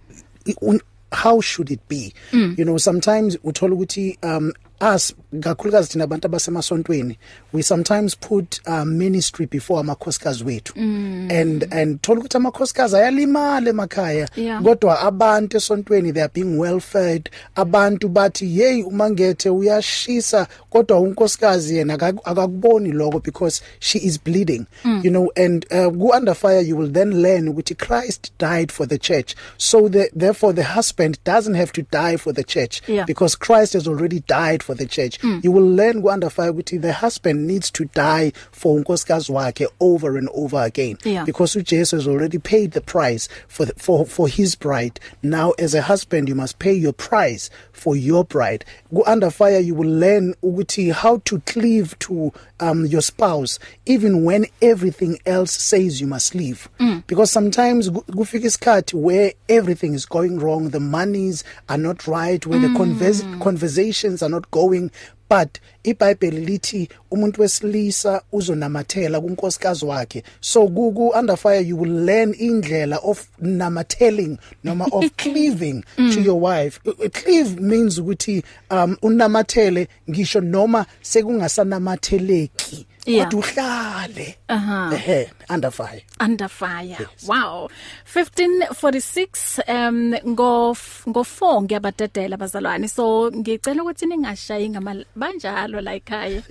Speaker 3: i- un- how should it be mm. you know sometimes uthola ukuthi um us kakhulukazi thina abantu abasemasontweni we sometimes put uh, ministry before amakhosikazi wethu mm. and and thola ukuthi amakhosikazi ayalimala emakhaya
Speaker 2: Yeah.
Speaker 3: kodwa abantu esontweni they are being well fed abantu bathi hey uma ngethe uyashisa kodwa unkosikazi yena akaku- akakuboni lokho because she is bleeding mm. you know and uh, go under fire you will then learn ukuthi Christ died for the church so the, therefore the husband doesn't have to die for the church
Speaker 2: Yeah.
Speaker 3: because Christ has already died for the church mm. you will learn go under fire ukuthi the husband needs to die for unkosikazi wakhe over and over again
Speaker 2: Yeah.
Speaker 3: because uJesu has already paid the price for the, for for his bride now as a husband you must pay your price for your bride go under fire you will learn ukuthi how to cleave to um your spouse even when everything else says you must leave mm. because sometimes ku- kufika isikhathi where everything is going wrong the monies are not right where mm. the convers- conversations are not going but iBhayibheli lithi umuntu wesilisa uzonamathela kunkosikazi wakhe so ku ku- under fire you will learn indlela of namatheling noma of cleaving mm. to your wife Uh, uh, cleave means ukuthi um unamathele ngisho noma sekungasanamatheleki
Speaker 2: Yeah.
Speaker 3: kodwa uhlale
Speaker 2: Aha.
Speaker 3: ehe under fire
Speaker 2: under fire yes. wow 1546 um ngo ngo 4 ngiyabadedela bazalwane so ngicela ukuthi ningashayi ngama banjalo la ekhaya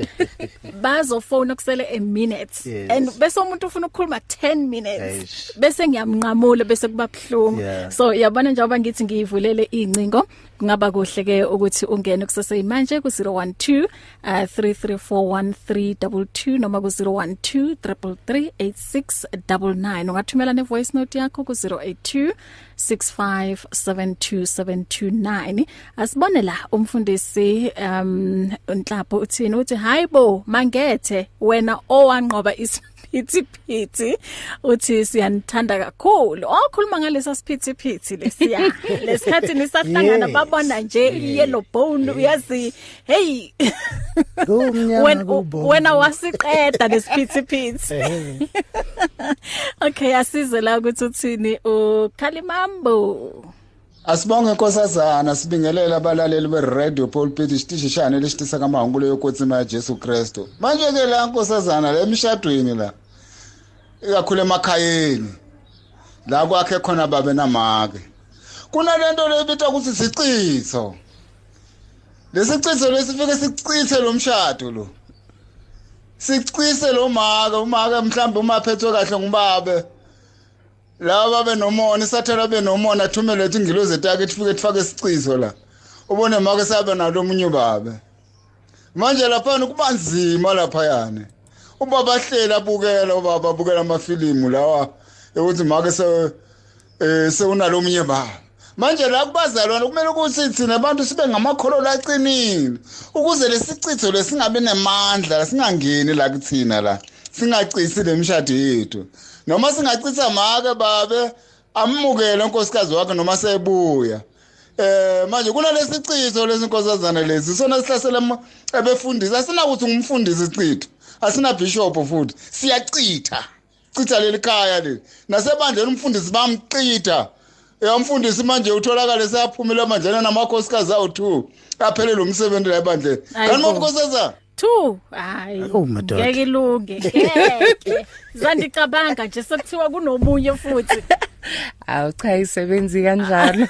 Speaker 2: bazofona kusele a minute
Speaker 3: Yes.
Speaker 2: and bese umuntu ufuna ukukhuluma 10 minutes
Speaker 3: Eish.
Speaker 2: bese ngiyamnqamula bese kuba buhlungu
Speaker 3: Yeah.
Speaker 2: so yabona njengoba ngithi ngiyivulele incingo kungaba kuhle ke ukuthi ungene kusase manje ku 012 uh, 334132 noma ku 012 338699 ungathumela ne voice note yakho ku 082 6572729 asibone la umfundisi um Nhlapo uthini uthi hayibo mangethe wena owanqoba is isiphithiphithi uthi siyanithanda kakhulu okhuluma ngalesa siphithiphithi lesiya lesikhathi nisahlangana
Speaker 3: Yes.
Speaker 2: babona nje yellow bone uyazi hey
Speaker 3: kumnyama
Speaker 2: when-
Speaker 3: kubo
Speaker 2: wena wasiqeda lesiphithiphithi
Speaker 3: Ehhe.
Speaker 2: okay asize la ukuthi uthini ukhalimambo
Speaker 5: Asibonge nkosazana sibingelela abalaleli be-radio pulpit isitishi shane lesitisa kamahungulo yokotsima ya Jesu Kristu. Manje ke la nkosazana la emshadweni la ikakhulu emakhayeni la kwakhe khona babe namake. Kunalento lebitha ukuthi sicitho. Lesicitho lesifike sicithe lo mshado lo. Sicithe lo maka, umaka mhlambe uma phethwe kahle ngubabe. laba benomona isathela benomona athumele ethi ingilozi etake tifike tifake sicizo la ubone make sabe nalo munye ubaba manje laphana kuba nzima laphayane ubaba hlela abukela ubaba abukela amafilimu lawa ukuthi make se eh seunalo munye baba manje la kubazalwana kumele ukuthi thina abantu sibe ngamakhololo aqinile ukuze lesicitho lesingabe nemandla singangeni la kuthina la singacisi lemishado yethu noma singacitha make babe amukele unkosikazi wakhe noma sebuya eh manje kunalesicitho lesinkosazana lezi sona sihlasela ama- ebefundisi asinakuthi ngumfundisi icitho asina bishop futhi siyacitha citha leli khaya leli nasebandleni umfundisi bamcitha yamfundisi manje utholakale seyaphumile emanjena namakhosikazi awu two aphelele umsebenzi la ebandleni
Speaker 2: Hayibo.
Speaker 5: kanti mabukhosazana
Speaker 2: two hayi
Speaker 3: Oh, madoda.
Speaker 2: ngeke ilunge ngeke zandicabanga nje sekuthiwa kunomunye futhi
Speaker 4: Awu cha isebenzi kanjalo.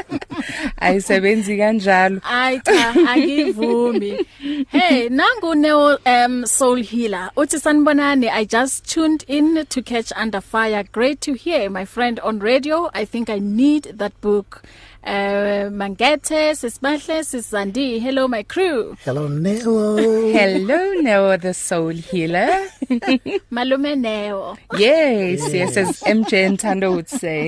Speaker 4: Ayisebenzi kanjalo.
Speaker 2: Ay cha angivumi. Hey nangu Neo um Soul Healer. Uthi sanibonani I just tuned in to catch Under Fire. Great to hear my friend on radio. I think I need that book. Uh Mangete, Sisibahle, Sisandi. Hello my crew.
Speaker 3: hello Neo
Speaker 4: Hello now the soul healer.
Speaker 2: Malume Neo.
Speaker 4: Yes, yes as MJ Ntando would say.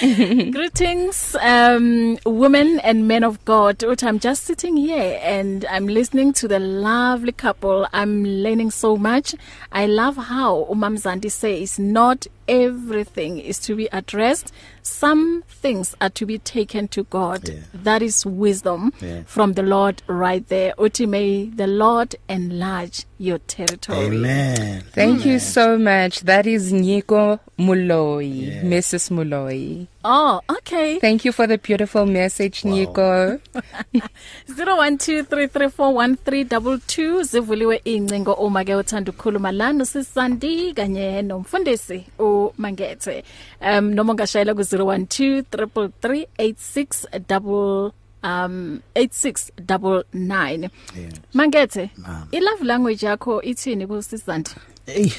Speaker 2: Greetings, um, women and men of God. Uthi, I'm just sitting here and I'm listening to the lovely couple. I'm learning so much. I love how Umamzandi says not everything is to be addressed. Some things are to be taken to God.
Speaker 3: Yeah.
Speaker 2: That is wisdom
Speaker 3: Yeah.
Speaker 2: from the Lord right there. Uthi, may the Lord enlarge your territory.
Speaker 3: Amen.
Speaker 4: Thank you so much. That is Nyiko Muloi,
Speaker 3: Yeah.
Speaker 4: Mrs. Muloi.
Speaker 2: Oh, okay.
Speaker 4: Thank you for the beautiful message, wow. Nyiko.
Speaker 2: 0123341322 zivuliwe incingo uma ke uthanda ukukhuluma la nosisandi kanye nomfundisi uMangethe um noma ungashayela ku 01233386 um 8699
Speaker 3: Yeah.
Speaker 2: Mangethe
Speaker 3: Ma'am.
Speaker 2: i love language yakho ithini kusisandi
Speaker 3: Hey.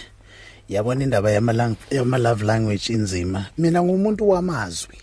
Speaker 3: Yabona indaba yamalang yama love language inzima. Mina ngumuntu wamazwi,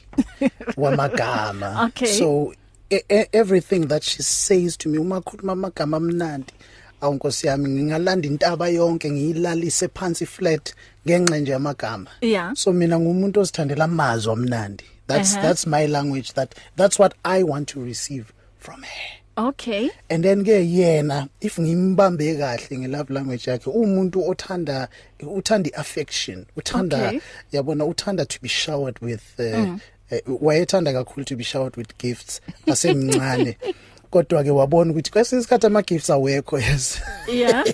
Speaker 3: wamagama.
Speaker 2: Okay.
Speaker 3: So e- e- everything that she says to me uma khuluma amagama amnandi, awunkosi yami ngingalanda intaba yonke ngiyilalise phansi flat ngenxa nje amagama.
Speaker 2: Yeah.
Speaker 3: So mina ngumuntu osithandela amazwi amnandi. That's
Speaker 2: Uh-huh.
Speaker 3: that's my language that that's what I want to receive from her.
Speaker 2: Okay
Speaker 3: and then ke yena if ngimbambe kahle nge love language yakhe umuntu othanda uthanda affection uthanda
Speaker 2: Okay.
Speaker 3: okay. yabona uthanda to be showered with uh, mm. uh, wayethanda kakhulu to be showered with gifts asemncane kodwa ke wabona ukuthi kwesinye isikhathi ama gifts awekho yes
Speaker 2: yeah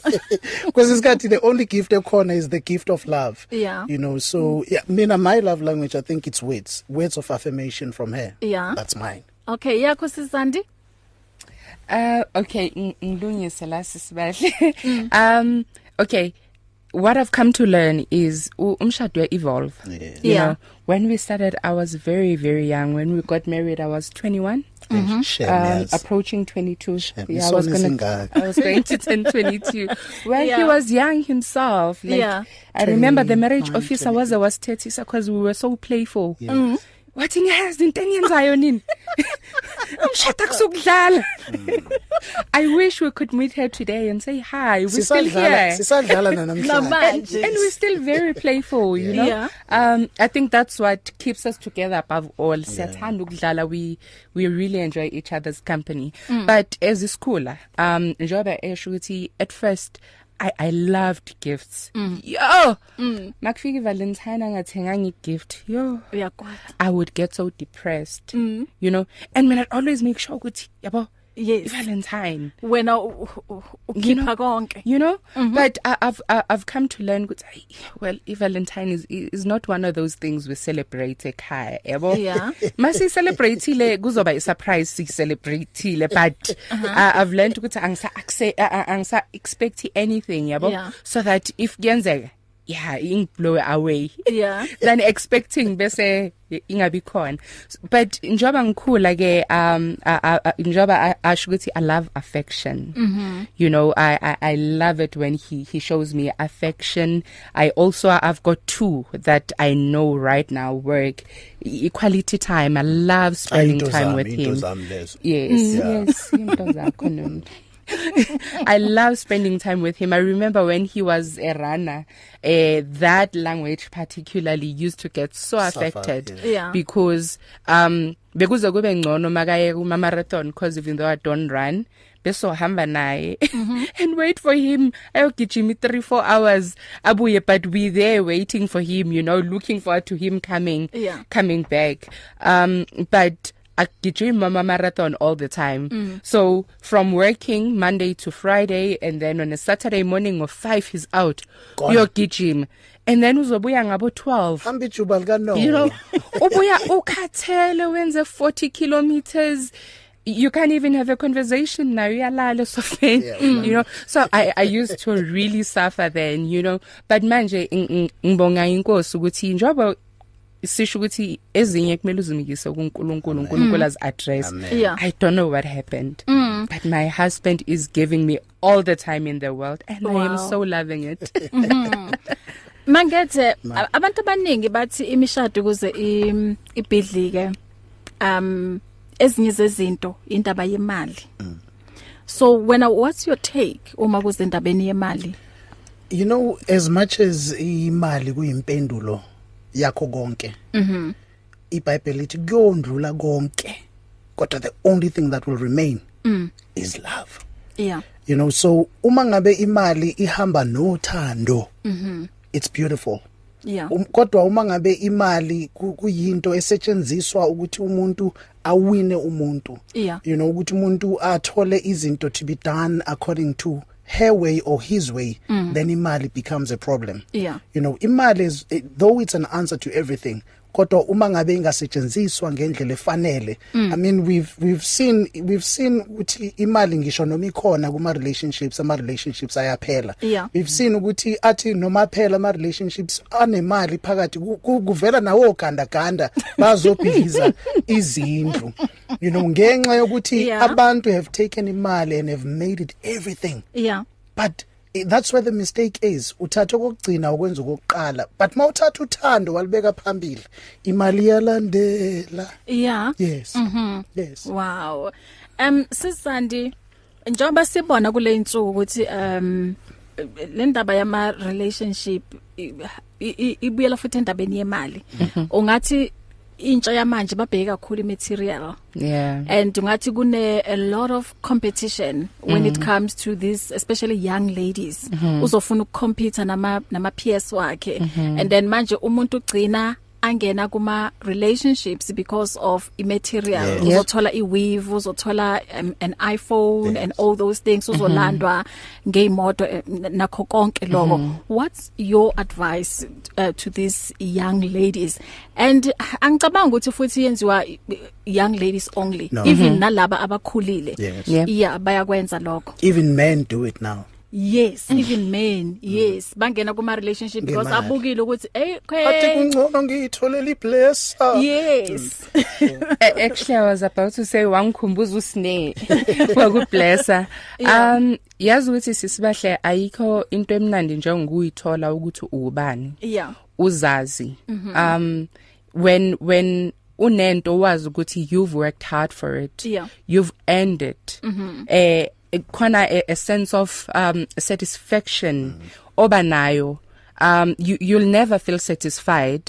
Speaker 3: kwesinye isikhathi the only gift ekhona is the gift of love
Speaker 2: Yeah.
Speaker 3: you know so yeah mina my love language i think it's words words of affirmation from her
Speaker 2: Yeah.
Speaker 3: that's mine
Speaker 2: okay yakho sisandi
Speaker 4: Uh okay, ng- ngilungise la sisibahle. Um okay, what I've come to learn is u- umshado uya evolve.
Speaker 3: Yeah.
Speaker 4: You
Speaker 2: Yeah.
Speaker 4: know, when we started I was very very young. When we got married I was 21.
Speaker 3: mm-hmm. shame
Speaker 4: um,
Speaker 3: yes
Speaker 4: approaching 22.
Speaker 3: Shame.
Speaker 4: Yeah, I was
Speaker 3: Isona
Speaker 4: going
Speaker 3: singaka.
Speaker 4: to I was going to turn 22. Well, yeah. he
Speaker 2: Yeah.
Speaker 4: was young himself. Like,
Speaker 2: Yeah.
Speaker 4: I remember the
Speaker 3: 29,
Speaker 4: marriage officer was I was 30 because we were so playful.
Speaker 3: Yes. Mhm.
Speaker 4: What in has intenyenzayo nini? Umshada kusukudlala.
Speaker 3: Mm.
Speaker 4: I wish we could meet her today and say hi. We're still
Speaker 3: sisadlala
Speaker 4: here.
Speaker 3: sisadlala nanamhlanje
Speaker 4: and, and we're still very playful you know
Speaker 2: Yeah.
Speaker 4: um i think that's what keeps us together above all siyathanda ukudlala we we really enjoy each other's company mm. but as a schooler um njoba esho ukuthi at first I I loved gifts. Mm. Yo. Mm. Makufika Valentine angathenganga igift. Yo.
Speaker 2: uyagwada
Speaker 4: I would get so depressed. Mm. You know, and when I always make sure ukuthi yabo
Speaker 2: Yes.
Speaker 4: Valentine
Speaker 2: wena u- u- u-
Speaker 4: You know-
Speaker 2: ukhipha konke
Speaker 4: you know mm-hmm. but I, i've I, i've come to learn ukuthi "Ay, well i valentine is is not one of those things we celebrate ekhaya yabo
Speaker 2: Yeah.
Speaker 4: masi celebrateile kuzoba i surprise si celebrateile but
Speaker 2: Uh-huh.
Speaker 4: uh, i've learned ukuthi angisa accept angisa expect anything yabo
Speaker 2: Yeah.
Speaker 4: so that if kuyenzeka yeah ing blow away
Speaker 2: Yeah.
Speaker 4: than expecting bese ingabi khona S- but njoba ngikhula ke um a- a- a- njoba a- asho ukuthi i love affection mm-hmm. you know I, i i love it when he he shows me affection i also i've got two that i know right now work I- quality time i love spending
Speaker 3: Into
Speaker 4: time
Speaker 3: zami,
Speaker 4: with
Speaker 3: into
Speaker 4: him
Speaker 3: zami lezo. Mm,
Speaker 4: yes
Speaker 3: Yeah.
Speaker 4: yes into zakho noma I love spending time with him. I remember when he was a runner, uh, that language particularly used to get so
Speaker 3: Suffer,
Speaker 4: affected
Speaker 3: yeah.
Speaker 2: Yeah.
Speaker 4: because um bekuze kube ngcono makaye kuma marathon because even though I don't run beso hamba naye and wait for him ayogijima 3 4 hours abuye but we there waiting for him you know looking forward to him coming
Speaker 2: Yeah.
Speaker 4: coming back um but agijima ama marathon all the time mm. so from working monday to friday and then on a saturday morning of 5 he's out
Speaker 3: Gone.
Speaker 4: uyogijima and then uzobuya ngabo 12
Speaker 3: hambe ijuba lika no
Speaker 4: you know ubuya ukhathele wenze 40 kilometers you can't even have a conversation now uyalala sofeni
Speaker 3: Yeah,
Speaker 4: mm. you know so i i used to really suffer then you know but manje ng- ng- ngibonga inkosi ukuthi njoba sisho ukuthi ezinye kumele uzimikise kuNkulunkulu uNkulunkulu as address
Speaker 3: Mm. Amen.
Speaker 2: Yeah.
Speaker 4: i don't know what happened mm. but my husband is giving me all the time in the world and wow. i am
Speaker 2: Wow.
Speaker 4: so loving it
Speaker 2: Mangethe a- abantu abaningi bathi imishado ukuze i- ibhidlike um ezinye zezinto indaba yemali.
Speaker 3: Mm.
Speaker 2: So when what's your take uma kuzindabeni yemali?
Speaker 3: you know
Speaker 4: Mm-hmm.
Speaker 3: as much as imali kuyimpendulo yakho konke mhm iBhayibheli lithi kuyondlula konke kodwa the only thing that will remain mm. is love
Speaker 2: yeah
Speaker 3: you know so uma ngabe imali ihamba nothando
Speaker 4: Mm-hmm.
Speaker 3: mhm it's beautiful
Speaker 2: yeah
Speaker 3: Um- kodwa uma ngabe imali ku- kuyinto esetshenziswa ukuthi umuntu awine umuntu
Speaker 2: Yeah.
Speaker 3: you know ukuthi umuntu athole izinto to be done according to her way or his way mm. then imali becomes a problem
Speaker 2: Yeah.
Speaker 3: you know imali is it, though it's an answer to everything kodwa uma ngabe ingasetshenziswa ngendlela efanele
Speaker 2: Mm.
Speaker 3: i mean we've we've seen we've seen ukuthi imali ngisho noma ikhona kuma relationships ama relationships ayaphela
Speaker 2: Yeah.
Speaker 3: we've seen ukuthi athi noma phela ama relationships anemali phakathi ku- ku- kuvela nawo ganda ganda bazobhiza izindlu you know ngenxa yokuthi
Speaker 2: Yeah.
Speaker 3: abantu have taken imali and have made it everything
Speaker 2: yeah
Speaker 3: but eh, that's where the mistake is uthatha okugcina ukwenza okokuqala but mawuthatha uthando walibeka phambili imali yalandela
Speaker 2: yeah
Speaker 3: yes mm
Speaker 2: Mm-hmm.
Speaker 3: -hmm. yes
Speaker 2: Wow. Um sisandi njoba sibona kule insuku ukuthi um le ndaba yama relationship i- i- ibuyela futhi endabeni yemali.
Speaker 3: Mm-hmm.
Speaker 2: Ungathi intsha yamanje babheka kakhulu imaterial
Speaker 4: yeah
Speaker 2: and ungathi kune a lot of competition when it comes to this especially young ladies uzofuna ukucompete nama nama PS wakhe and then manje umuntu ugcina angena kuma relationships because of immaterial
Speaker 3: Yes.
Speaker 2: yeah. uzothola iweave uzothola um, an iPhone yes. and all those things uzolandwa ngeimoto eh, n- nakho konke lokho what's your advice uh, to these young ladies and angicabanga ukuthi futhi yenziwa i- young ladies only
Speaker 3: No.
Speaker 2: even nalaba abakhulile
Speaker 3: Yes.
Speaker 4: Yeah.
Speaker 2: yeah bayakwenza lokho Mm.
Speaker 3: even men do it now
Speaker 2: yes even men yes bangena kuma relationship because
Speaker 3: Mm. Ngemali.
Speaker 2: abukile ukuthi hey
Speaker 3: athi
Speaker 2: okay
Speaker 3: kungcono ngiyithole iblesser
Speaker 2: yes
Speaker 3: Mm.
Speaker 4: A- Eh, actually i was about to say wangikhumbuza usine wakublessa um yazi ukuthi sisibahle ayikho into emnandi njengokuyithola ukuthi ubani
Speaker 2: yeah
Speaker 4: uzazi um when when unento wazi ukuthi you've worked hard for it
Speaker 2: Yeah.
Speaker 4: you've earned it
Speaker 2: Mm-hmm.
Speaker 4: eh khona a, a sense of um satisfaction
Speaker 2: Mm-hmm.
Speaker 4: oba nayo um you you'll never feel satisfied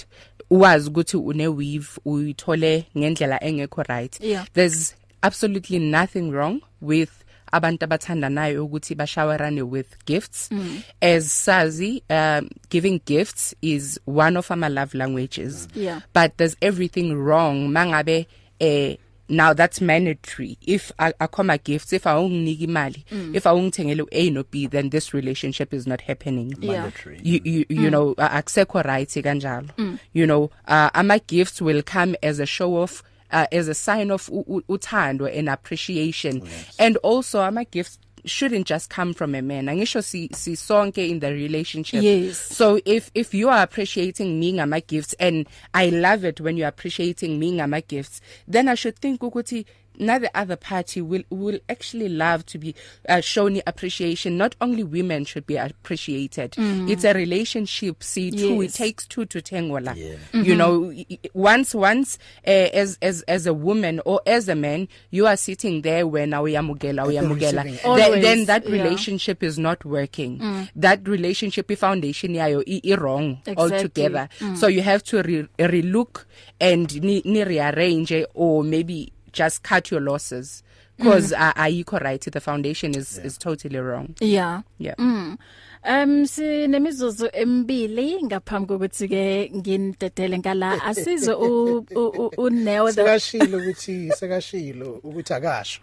Speaker 4: wazi ukuthi une weave uyithole ngendlela engekho right
Speaker 2: Yeah.
Speaker 4: there's absolutely nothing wrong with abantu abathandanayo ukuthi bashawarane with gifts mm. as sazi um giving gifts is one of our love languages
Speaker 2: Yeah.
Speaker 4: but there's everything wrong mangabe eh now that's mandatory if I akoma gifts if awunginiki imali if awungithengele A no B then this relationship is not happening
Speaker 2: Yeah.
Speaker 4: you you, you mm. know uh, akusekho right kanjalo mm. you know uh, ama gifts will come as a show off uh, as a sign of u- u- uthando and appreciation yes. and also ama gifts shouldn't just come from a man angisho si, si sonke in the relationship
Speaker 2: Yes.
Speaker 4: so if if you are appreciating me ngama gifts and i love it when you are appreciating me ngama gifts then i should think ukuthi now the other party will will actually love to be uh, shown appreciation not only women should be appreciated mm. it's a relationship see two
Speaker 2: Yes.
Speaker 4: it takes two to tango la yeah. mm-hmm. you know y- y- once once uh, as as as a woman or as a man you are sitting there when uyamukela uyamukela
Speaker 3: receiving
Speaker 2: end.
Speaker 4: then, then
Speaker 2: Always,
Speaker 4: that
Speaker 2: yeah.
Speaker 4: relationship is not working mm. that relationship ifoundation yayo i i- wrong
Speaker 2: Exactly.
Speaker 4: altogether mm. so you have to re- relook and ni, ni rearrange eh, or maybe just cut your losses because mm. uh, ayikho right the foundation is yeah. is totally wrong
Speaker 2: yeah
Speaker 4: yeah
Speaker 2: Um sinemizuzu embili ngaphambi kokuthi ke ngindedele ngala asizwe u u- u- uNeo the
Speaker 3: sekashilo ukuthi sekashilo ukuthi akasho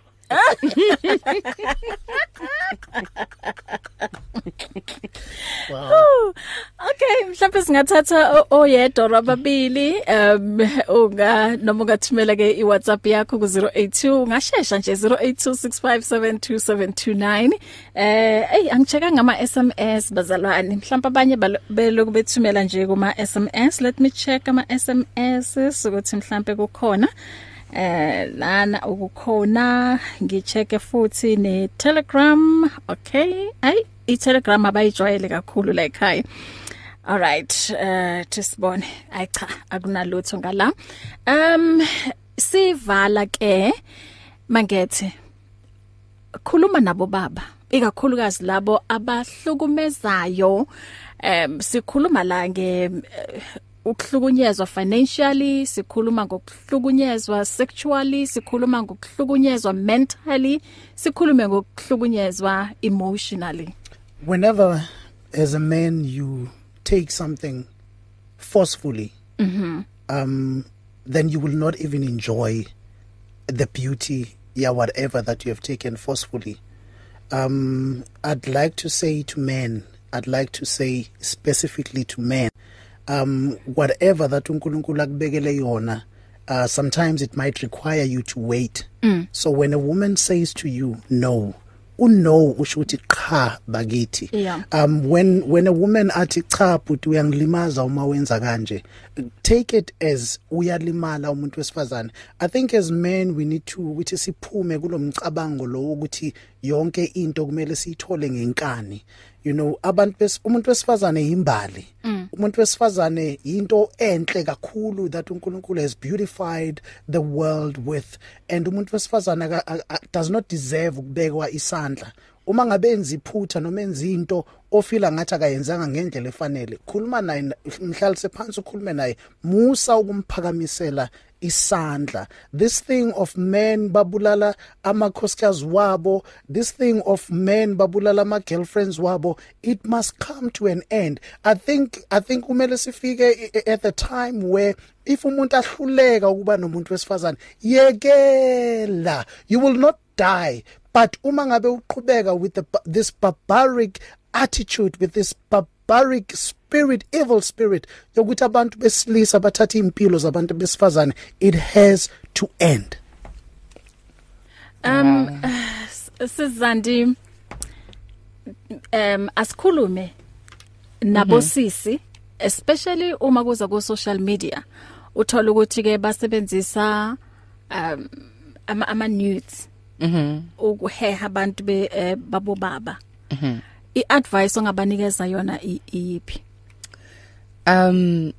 Speaker 2: Okay mhlawumbe singathatha o- oyedwa rababili um unga noma ungathumela ke iWhatsApp yakho ku 082 ngashesha nje 0826572729 eh hey angicheka ngama SMS bazalwane mhlawumbe abanye bal- beloku bethumela nje kuma SMS let me check ama SMS ukuthi mhlawumbe kukhona eh lana ukukhona ngicheke futhi ne Telegram okay ay i Telegram abayijwayele kakhulu la ekhaya all right uh tisibone ay cha akunalutho ngala um sivala ke mangethe khuluma nabo baba ikakhulukazi labo abahlukumezayo em sikhuluma la Um, nge eh, ukuhlukunyezwa financially sikhuluma ngokuhlukunyezwa sexually sikhuluma ngokuhlukunyezwa mentally sikhulume ngokuhlukunyezwa emotionally
Speaker 3: whenever as a man you take something forcefully mm-hmm. um then you will not even enjoy the beauty yeah whatever that you have taken forcefully um i'd like to say to men i'd like to say specifically to men um whatever that uNkulunkulu akubekele yona uh sometimes it might require you to wait mm. so when a woman says to you no uno usho ukuthi cha bakithi
Speaker 2: Yeah.
Speaker 3: um when when a woman athi cha but uyangilimaza uma wenza kanje take it as uyalimala umuntu wesifazane i think as men we need to ukuthi siphume kulomcabango lo ukuthi yonke into kumele siyithole ngenkani you know abantu bes- umuntu wesifazane yimbali umuntu wesifazane into enhle kakhulu that uNkulunkulu has beautified the world with and umuntu wesifazane aka- a- a- does not deserve ukubekwa isandla uma ngabe enza iphutha noma enza into ofila ngathi akayenzanga ngendlela efanele khuluma naye n- mhlalise phansi ukhulume naye musa ukumphakamisela isandla this thing of men babulala amakhosikazi wabo this thing of men babulala ama girlfriends wabo it must come to an end i think i think kumele sifike i- i- at the time where if umuntu ahluleka ukuba nomuntu wesifazane yekela you will not die but uma ngabe uqhubeka with the, ba- this barbaric attitude with this barbaric spirit evil spirit yokuthi abantu besilisa bathatha impilo zabantu besifazane it has to end
Speaker 2: um sizandi um asikhulume nabo sisi especially uma kuza ku social media uthola ukuthi ke basebenzisa um ama ama nudes mhm ukuheha abantu be eh, babo baba mhm iadvice ongabanikeza yona i- iyiphi
Speaker 4: Um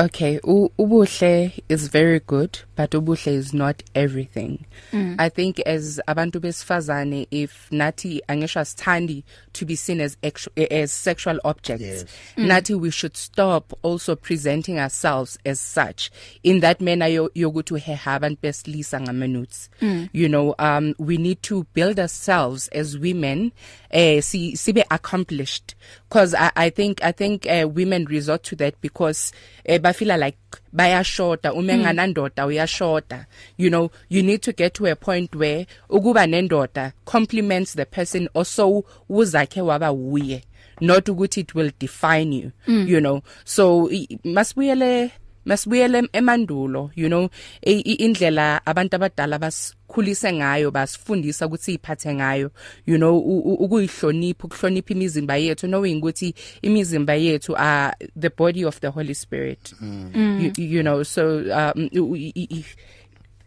Speaker 4: okay, u- ubuhle is very good, but ubuhle is not everything. Mm. I think as abantu besifazane if nathi angisho asithandi to be seen as actu- as sexual objects. Yes. Mm. Nathi we should stop also presenting ourselves as such in that manner yo- yokuthi uheha abantu besilisa ngamanudes. Mm. You know, um we need to build ourselves as women eh si sibe accomplished because I, I think I think uh, women resort to that because uh, ba feel like bayashota uma enganandoda uyashota you know you need to get to a point where ukuba nendoda complements the person also uzakhe waba wuye not ukuthi it will define you mm. you know so i- masibuyele masibuyele em- emandulo you know i- i- indlela abantu abadala basikhulise ngayo basifundisa ukuthi iphathe ngayo you know u- u- ukuyihlonipha ukuhlonipha imizimba yethu knowing ukuthi imizimba yethu are the body of the holy spirit mm. you, you know so um u- i- i- i-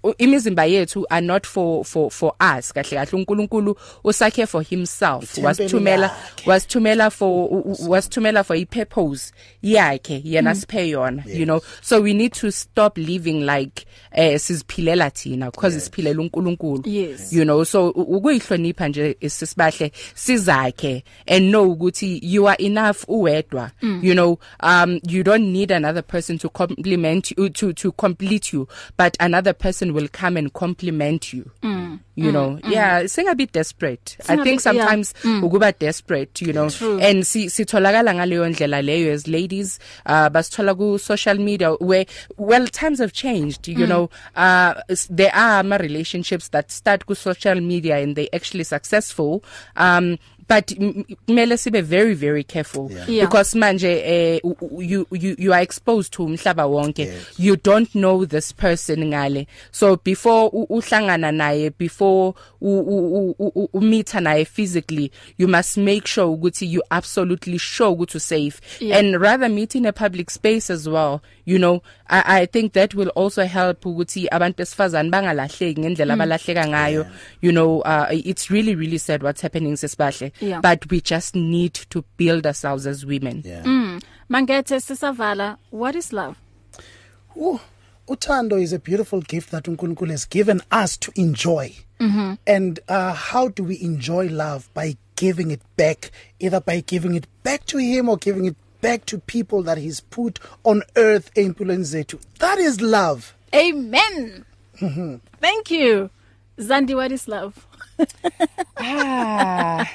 Speaker 4: u- imizimba yethu are not for for for us kahle kahle uNkulunkulu usakhe for himself
Speaker 3: Ithempeli
Speaker 4: wasithumela
Speaker 3: lakhe.
Speaker 4: wasithumela for u- u- wasithumela for ipurpose yakhe yena siphe yona you know so we need to stop living like eh siziphilela thina because isiphilela uNkulunkulu
Speaker 2: Yes.
Speaker 4: you know so u- ukuyihlonipha nje sisibahle sizakhe and know ukuthi you are enough uwedwa
Speaker 2: Mm.
Speaker 4: you know um you don't need another person to complement you to to complete you but another person will come and compliment you
Speaker 2: Mm.
Speaker 4: you know yeah singabe desperate i
Speaker 2: Singabi-
Speaker 4: think
Speaker 2: yeah.
Speaker 4: sometimes
Speaker 2: Mm.
Speaker 4: sometimes ukuba desperate you know and si- sitholakala ngaleyo ndlela leyo as ladies uh basithola ku social media where well times have changed you mm. know uh s- there are ma relationships that start ku social media and they actually successful um but m- m- kumele sibe very very careful
Speaker 2: Yeah.
Speaker 4: because manje eh u- u- you you you are exposed to umhlaba wonke you don't know this person ngale so before u- uhlangana naye before u- u- u- u- u meet naye physically you must make sure ukuthi you absolutely sure ukuthi u safe
Speaker 2: Yeah.
Speaker 4: and rather meet in a public space as well you know i i think that will also help ukuthi abantu besifazane bangalahleki ngendlela
Speaker 2: Mm.
Speaker 4: abalahleka ngayo you know uh, it's really really sad what's happening sesibahle
Speaker 2: Yeah.
Speaker 4: but we just need to build ourselves as women
Speaker 3: yeah
Speaker 2: mangethe sisavala what is love
Speaker 3: Ooh, uthando is a beautiful gift that uNkulunkulu has given us to enjoy. Mm-hmm. And uh, how do we enjoy love by giving it back, either by giving it back to Him or giving it back to people that he's put on earth empilweni zethu that is love
Speaker 2: Amen. Mhm. Thank you. Zandi what is love?
Speaker 4: ah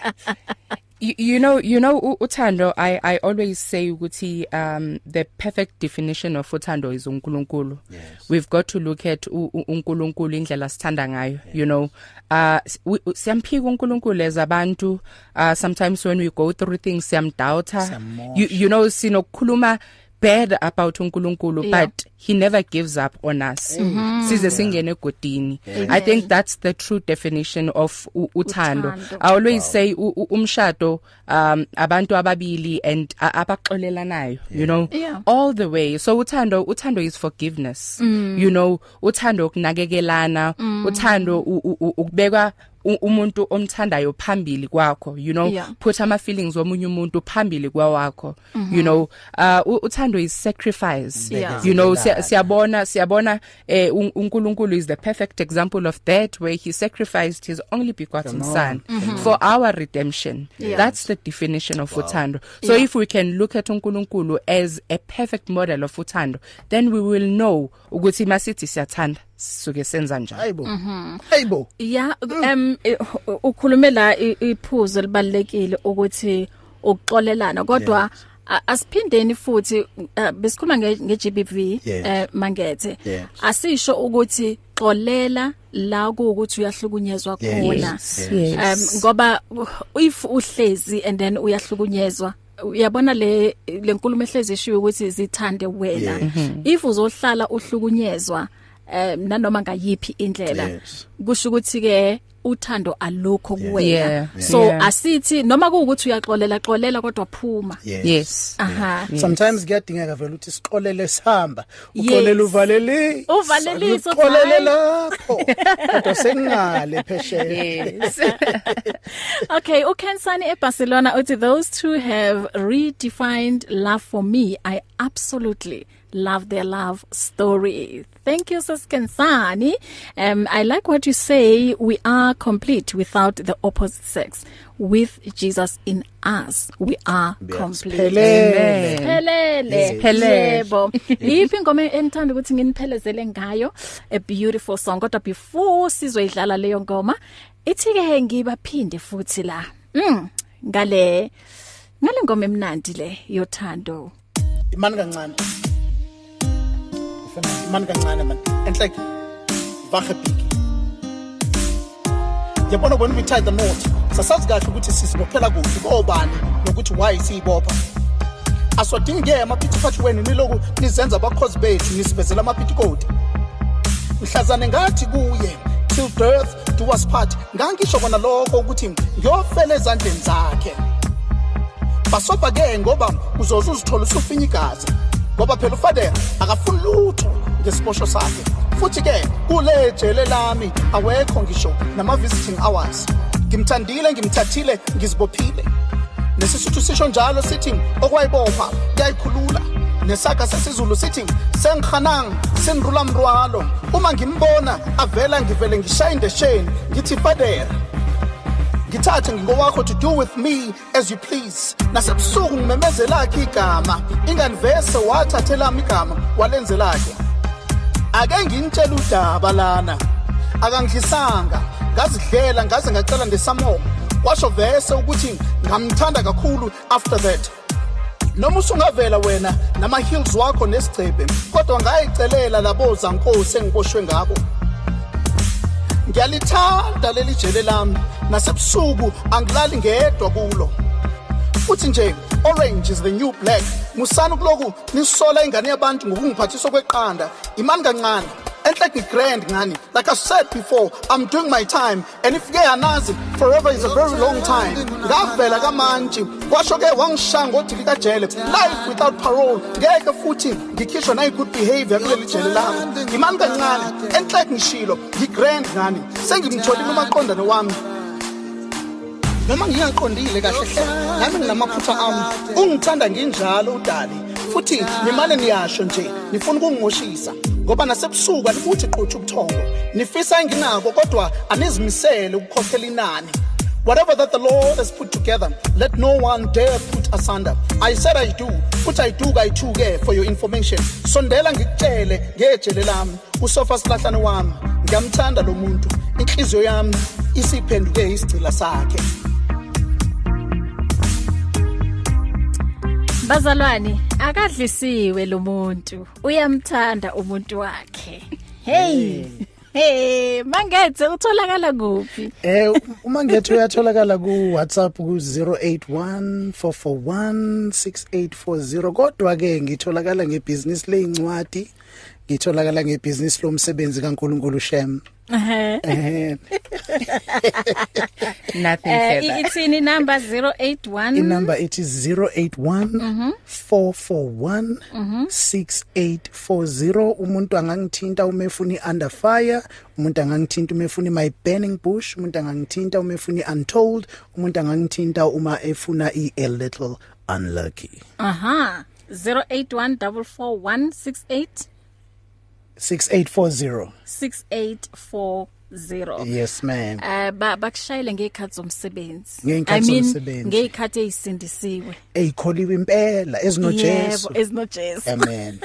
Speaker 4: you, you know you know u- uthando i i always say ukuthi um the perfect definition of uthando is uNkulunkulu yes. we've got to look at u- u- uNkulunkulu indlela sithanda ngayo yes. you know uh s- we- u- siyamphika uNkulunkulu as abantu uh sometimes when we go through things siyamdoubta you you know sinokukhuluma bad about uNkulunkulu
Speaker 2: Yeah. Mm-hmm.
Speaker 4: but he never gives up on us size singene egodini i think that's the true definition of u- uthando
Speaker 2: Uthando.
Speaker 4: i always wow. say u- u- umshado um abantu ababili and a- abaxolelanayo yeah. you know
Speaker 2: Yeah.
Speaker 4: all the way so uthando uthando is forgiveness mm. you know uthando ukunakekelana mm. uthando u- u- u- ukubeka u- umuntu omthandayo phambili kwakho you know
Speaker 2: Yeah.
Speaker 4: put ama feelings womunye umuntu phambili kwawakho mm
Speaker 2: Mhm.
Speaker 4: -hmm. you know uh u- uthando is sacrifice
Speaker 2: Yeah.
Speaker 4: you know siya- siyabona siyabona eh un- uNkulunkulu is the perfect example of that where he sacrificed his only begotten son mm -hmm. for our redemption
Speaker 2: Mhm. Yeah.
Speaker 4: that's the definition of wow. uthando so
Speaker 2: Yeah.
Speaker 4: yeah. if we can look at uNkulunkulu as a perfect model of uthando then we will know ukuthi masithi siyathanda sisuke senza njani
Speaker 3: hayibo
Speaker 4: Mm-hmm.
Speaker 3: hayibo
Speaker 2: Yeah,
Speaker 3: Mm.
Speaker 2: um eh, u- ukhulume la i- iphuzu libalekile ukuthi ukuxolelana kodwa a- asiphindeni futhi uh, besikhuluma nge ngeGBV
Speaker 3: Yes.
Speaker 2: eh mangethe
Speaker 3: Yes.
Speaker 2: asisho ukuthi xolela la ukuthi uyahlukunyezwa
Speaker 3: Yes.
Speaker 2: khona
Speaker 4: Yes. Yes.
Speaker 2: um ngoba uh, if uhlezi and then uyahlukunyezwa uyabona le lenkulumo ehlezi ishiwe ukuthi zithande wena if uzohlala uhlukunyezwa um nanoma ngayiphi indlela
Speaker 3: Yes.
Speaker 2: kusho ukuthi ke uthando alukho kuwena
Speaker 4: Yeah.
Speaker 2: so
Speaker 4: Yeah.
Speaker 2: asithi noma kuukuthi uyaxolela xolela kodwa phuma
Speaker 4: yes
Speaker 2: aha
Speaker 3: sometimes kuyadingeka vele ukuthi siqolele sihamba
Speaker 2: Yes.
Speaker 3: uqolele uvaleli
Speaker 2: Uvalelise,
Speaker 3: uqolele
Speaker 2: bye.
Speaker 3: lapho kodwa sengale phesheya
Speaker 4: yes
Speaker 2: okay, oh, uKensani eBarcelona uthi those two have redefined love for me. I absolutely love their love story. Thank you Sis Kensani. Um I like what you say we are complete without the opposite sex. With Jesus in us, we are complete.
Speaker 3: phelele
Speaker 2: Phelele.
Speaker 4: Phelele.
Speaker 2: Yebo. Yiphi ingoma enithanda ukuthi nginiphelezele ngayo? A beautiful song. Kodwa before sizoyidlala leyo ngoma, ithi ke ngibaphinde futhi la. Mm, ngale ngale ngoma emnandi le yothando.
Speaker 3: imani kancane Ufuna imani kancane man enhle vahe big yabona when we tie the knot sasazi kahle ukuthi sisibophela kuphi kobani nokuthi why siyibopha aswadingeke amaphithiphathi wenu niloku nizenza abakhozi bethu nisivezela amaphitikoti mhlazane ngathi kuye till death do us part ngangisho kona lokho ukuthi ngiyofela ezandleni zakhe basoba ke ngoba uzoze uzithola usufinya igazi ngoba phela ufader akafuni lutho ngesibosho sakhe futhi ke kule jele lami awekho ngisho nama-visiting hours ngimthandile ngimthathile ngizibophile nesisuthu sisho njalo sithi okwayibopha kuyayikhulula nesaga sesizulu sithi sengihanang senirula mrwalo uma ngimbona avela ngivele ngishaye indesheni ngithi fadera ngithathe ngingowakho to do with me as you please nasebusuku ngimemezelakhe igama inganivese wathathe lami igama walenzelakhe ake nginitshela udaba lana akangidlisanga ngazidlela ngaze ngacela ndesamore kwasho vese ukuthi ngamthanda kakhulu after that noma usungavela wena nama-heels wakho nesigcebhe kodwa ngayicelela laboza nkosi engiboshwe ngabo ngiyalithanda leli jele lami nasebusuku angilali ngedwa kulo futhi nje orange is the new black musana kuloku nisola ingane yabantu ngokungiphathiswa kweqanda imani kancane enhle ngigrand ngani like i said before i'm doing my time and if ke anazi forever is a very long time ngavela kamantshi kwasho ke wangishaya ngodili kajele life without parole ngeke futhi ngikhishwe nayi-good behavior kuleli jele lami imani kancane enhle ngishilo ngigrand ngani sengimtholile umaqondane wami noma ngingaqondile kahle hle nami nginamaphutha ami ungithanda nginjalo udali futhi nimane niyasho nje nifuna ukungimoshisa ngoba nasebusuku anibuthi qutsha ubuthongo nifisa enginako kodwa anizimisele ukukhokhela inani Whatever that the Lord has put together, let no one dare put asunder. I said I do, futhi ayiduka ayithuke for your information. Sondela ngikutshele ngejele lami, usofa silahlane wami, ngiyamthanda lo muntu, inhliziyo yami isiphenduke isigcila sakhe.
Speaker 2: Bazalwane, akadlisiwe lo muntu. Uyamthanda umuntu wakhe. Hey. Hey, mangethe utholakala kuphi?
Speaker 8: Eh uma ngethu uyatholakala ku WhatsApp ku 0814416840 kodwa ke ngitholakala ngebusiness leincwadi ngitholakala ngebusiness lomsebenzi kaNkuluNkulu Shem
Speaker 2: Ehhe.
Speaker 8: eh
Speaker 4: nothing
Speaker 2: Eh,
Speaker 4: further
Speaker 2: i- ithini number 081
Speaker 8: inumber ithi 0814416840 umuntu angangithinta uma efuna iunder fire umuntu angangithinta uma efuna my burning bush umuntu angangithinta uma efuna untold umuntu angangithinta uma efuna i a little unlucky
Speaker 2: Aha. 08144168
Speaker 8: 6840
Speaker 2: 6840
Speaker 8: yes ma'am
Speaker 2: eh ba- bakushayele ngey'khathi zomsebenzi
Speaker 8: Ngey'khathi
Speaker 2: I mean,
Speaker 8: zomsebenzi.
Speaker 2: ngey'khathi ey'sindisiwe
Speaker 8: eyikholiwe impela ezinojesu
Speaker 2: yebo eh, ezinojesu
Speaker 8: amen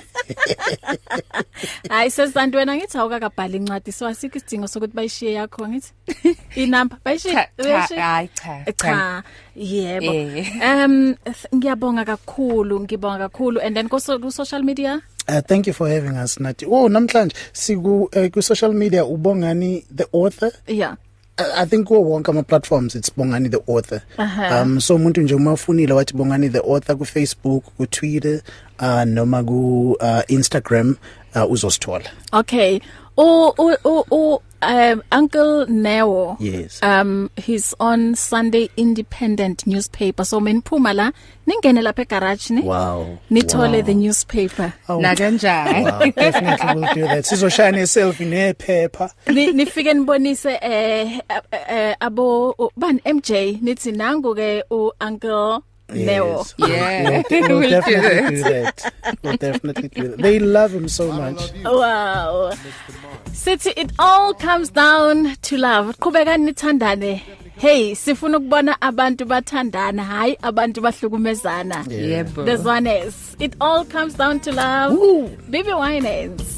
Speaker 2: hayi sesanti wena ngithi awukakabhali incwadi so asikho isidingo sokuthi bayishiye yakho ngithi inamba
Speaker 4: Cha-
Speaker 2: bayishiye
Speaker 4: cha,
Speaker 2: uyayishiya?
Speaker 4: hayi, cha, cha.
Speaker 2: cha yebo
Speaker 4: Eh.
Speaker 2: um th- ngiyabonga kakhulu ngibonga kakhulu and then ku social media
Speaker 8: Uh, thank you for having us Nati. Oh namhlanje siku eh, ku social media ubongani the author
Speaker 2: yeah
Speaker 8: I I think kuwo wonke ama platforms it's Bongani the author.
Speaker 2: Aha.
Speaker 8: Um so umuntu nje uma ufunile wathi Bongani the author ku Facebook, ku Twitter, uh noma ku uh, Instagram uh, uzosithola.
Speaker 2: Okay. Oh, oh, oh, oh um, Uncle Neo.
Speaker 8: Yes.
Speaker 2: Um, he's on Sunday Independent newspaper. So meniphuma la ningene lapha egarage ni.
Speaker 8: Wow.
Speaker 2: Nithole wow. the newspaper.
Speaker 4: na kanjani
Speaker 8: Wow, definitely will do that. Sizoshaya ne selfie nephepha.
Speaker 2: Ni- Nifike nibonise eh eh, eh, abo oh, bani MJ nithi nangu ke u Uncle Neo.
Speaker 8: Yes. We'll-
Speaker 4: Yeah.
Speaker 8: We'll, we'll
Speaker 4: We'll do
Speaker 8: definitely do that. We'll definitely do that. They love him so much.
Speaker 2: Wow. Sithi it all comes down to love. Qhubeka nithandane. Hey, sifuna ukubona abantu bathandana, hayi abantu bahlukumezana.
Speaker 4: yebo
Speaker 2: This one is it all comes down to love.
Speaker 8: Woo.
Speaker 2: Bibi Winans.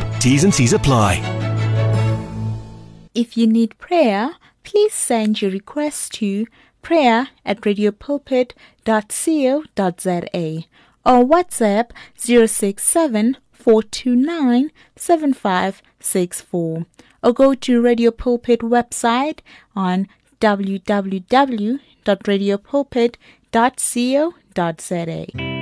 Speaker 1: T's and C's apply.
Speaker 7: If you need prayer, please send your request to prayer at radiopulpit.co.za or WhatsApp 067 429 7564 or go to Radio Pulpit website on www.radiopulpit.co.za.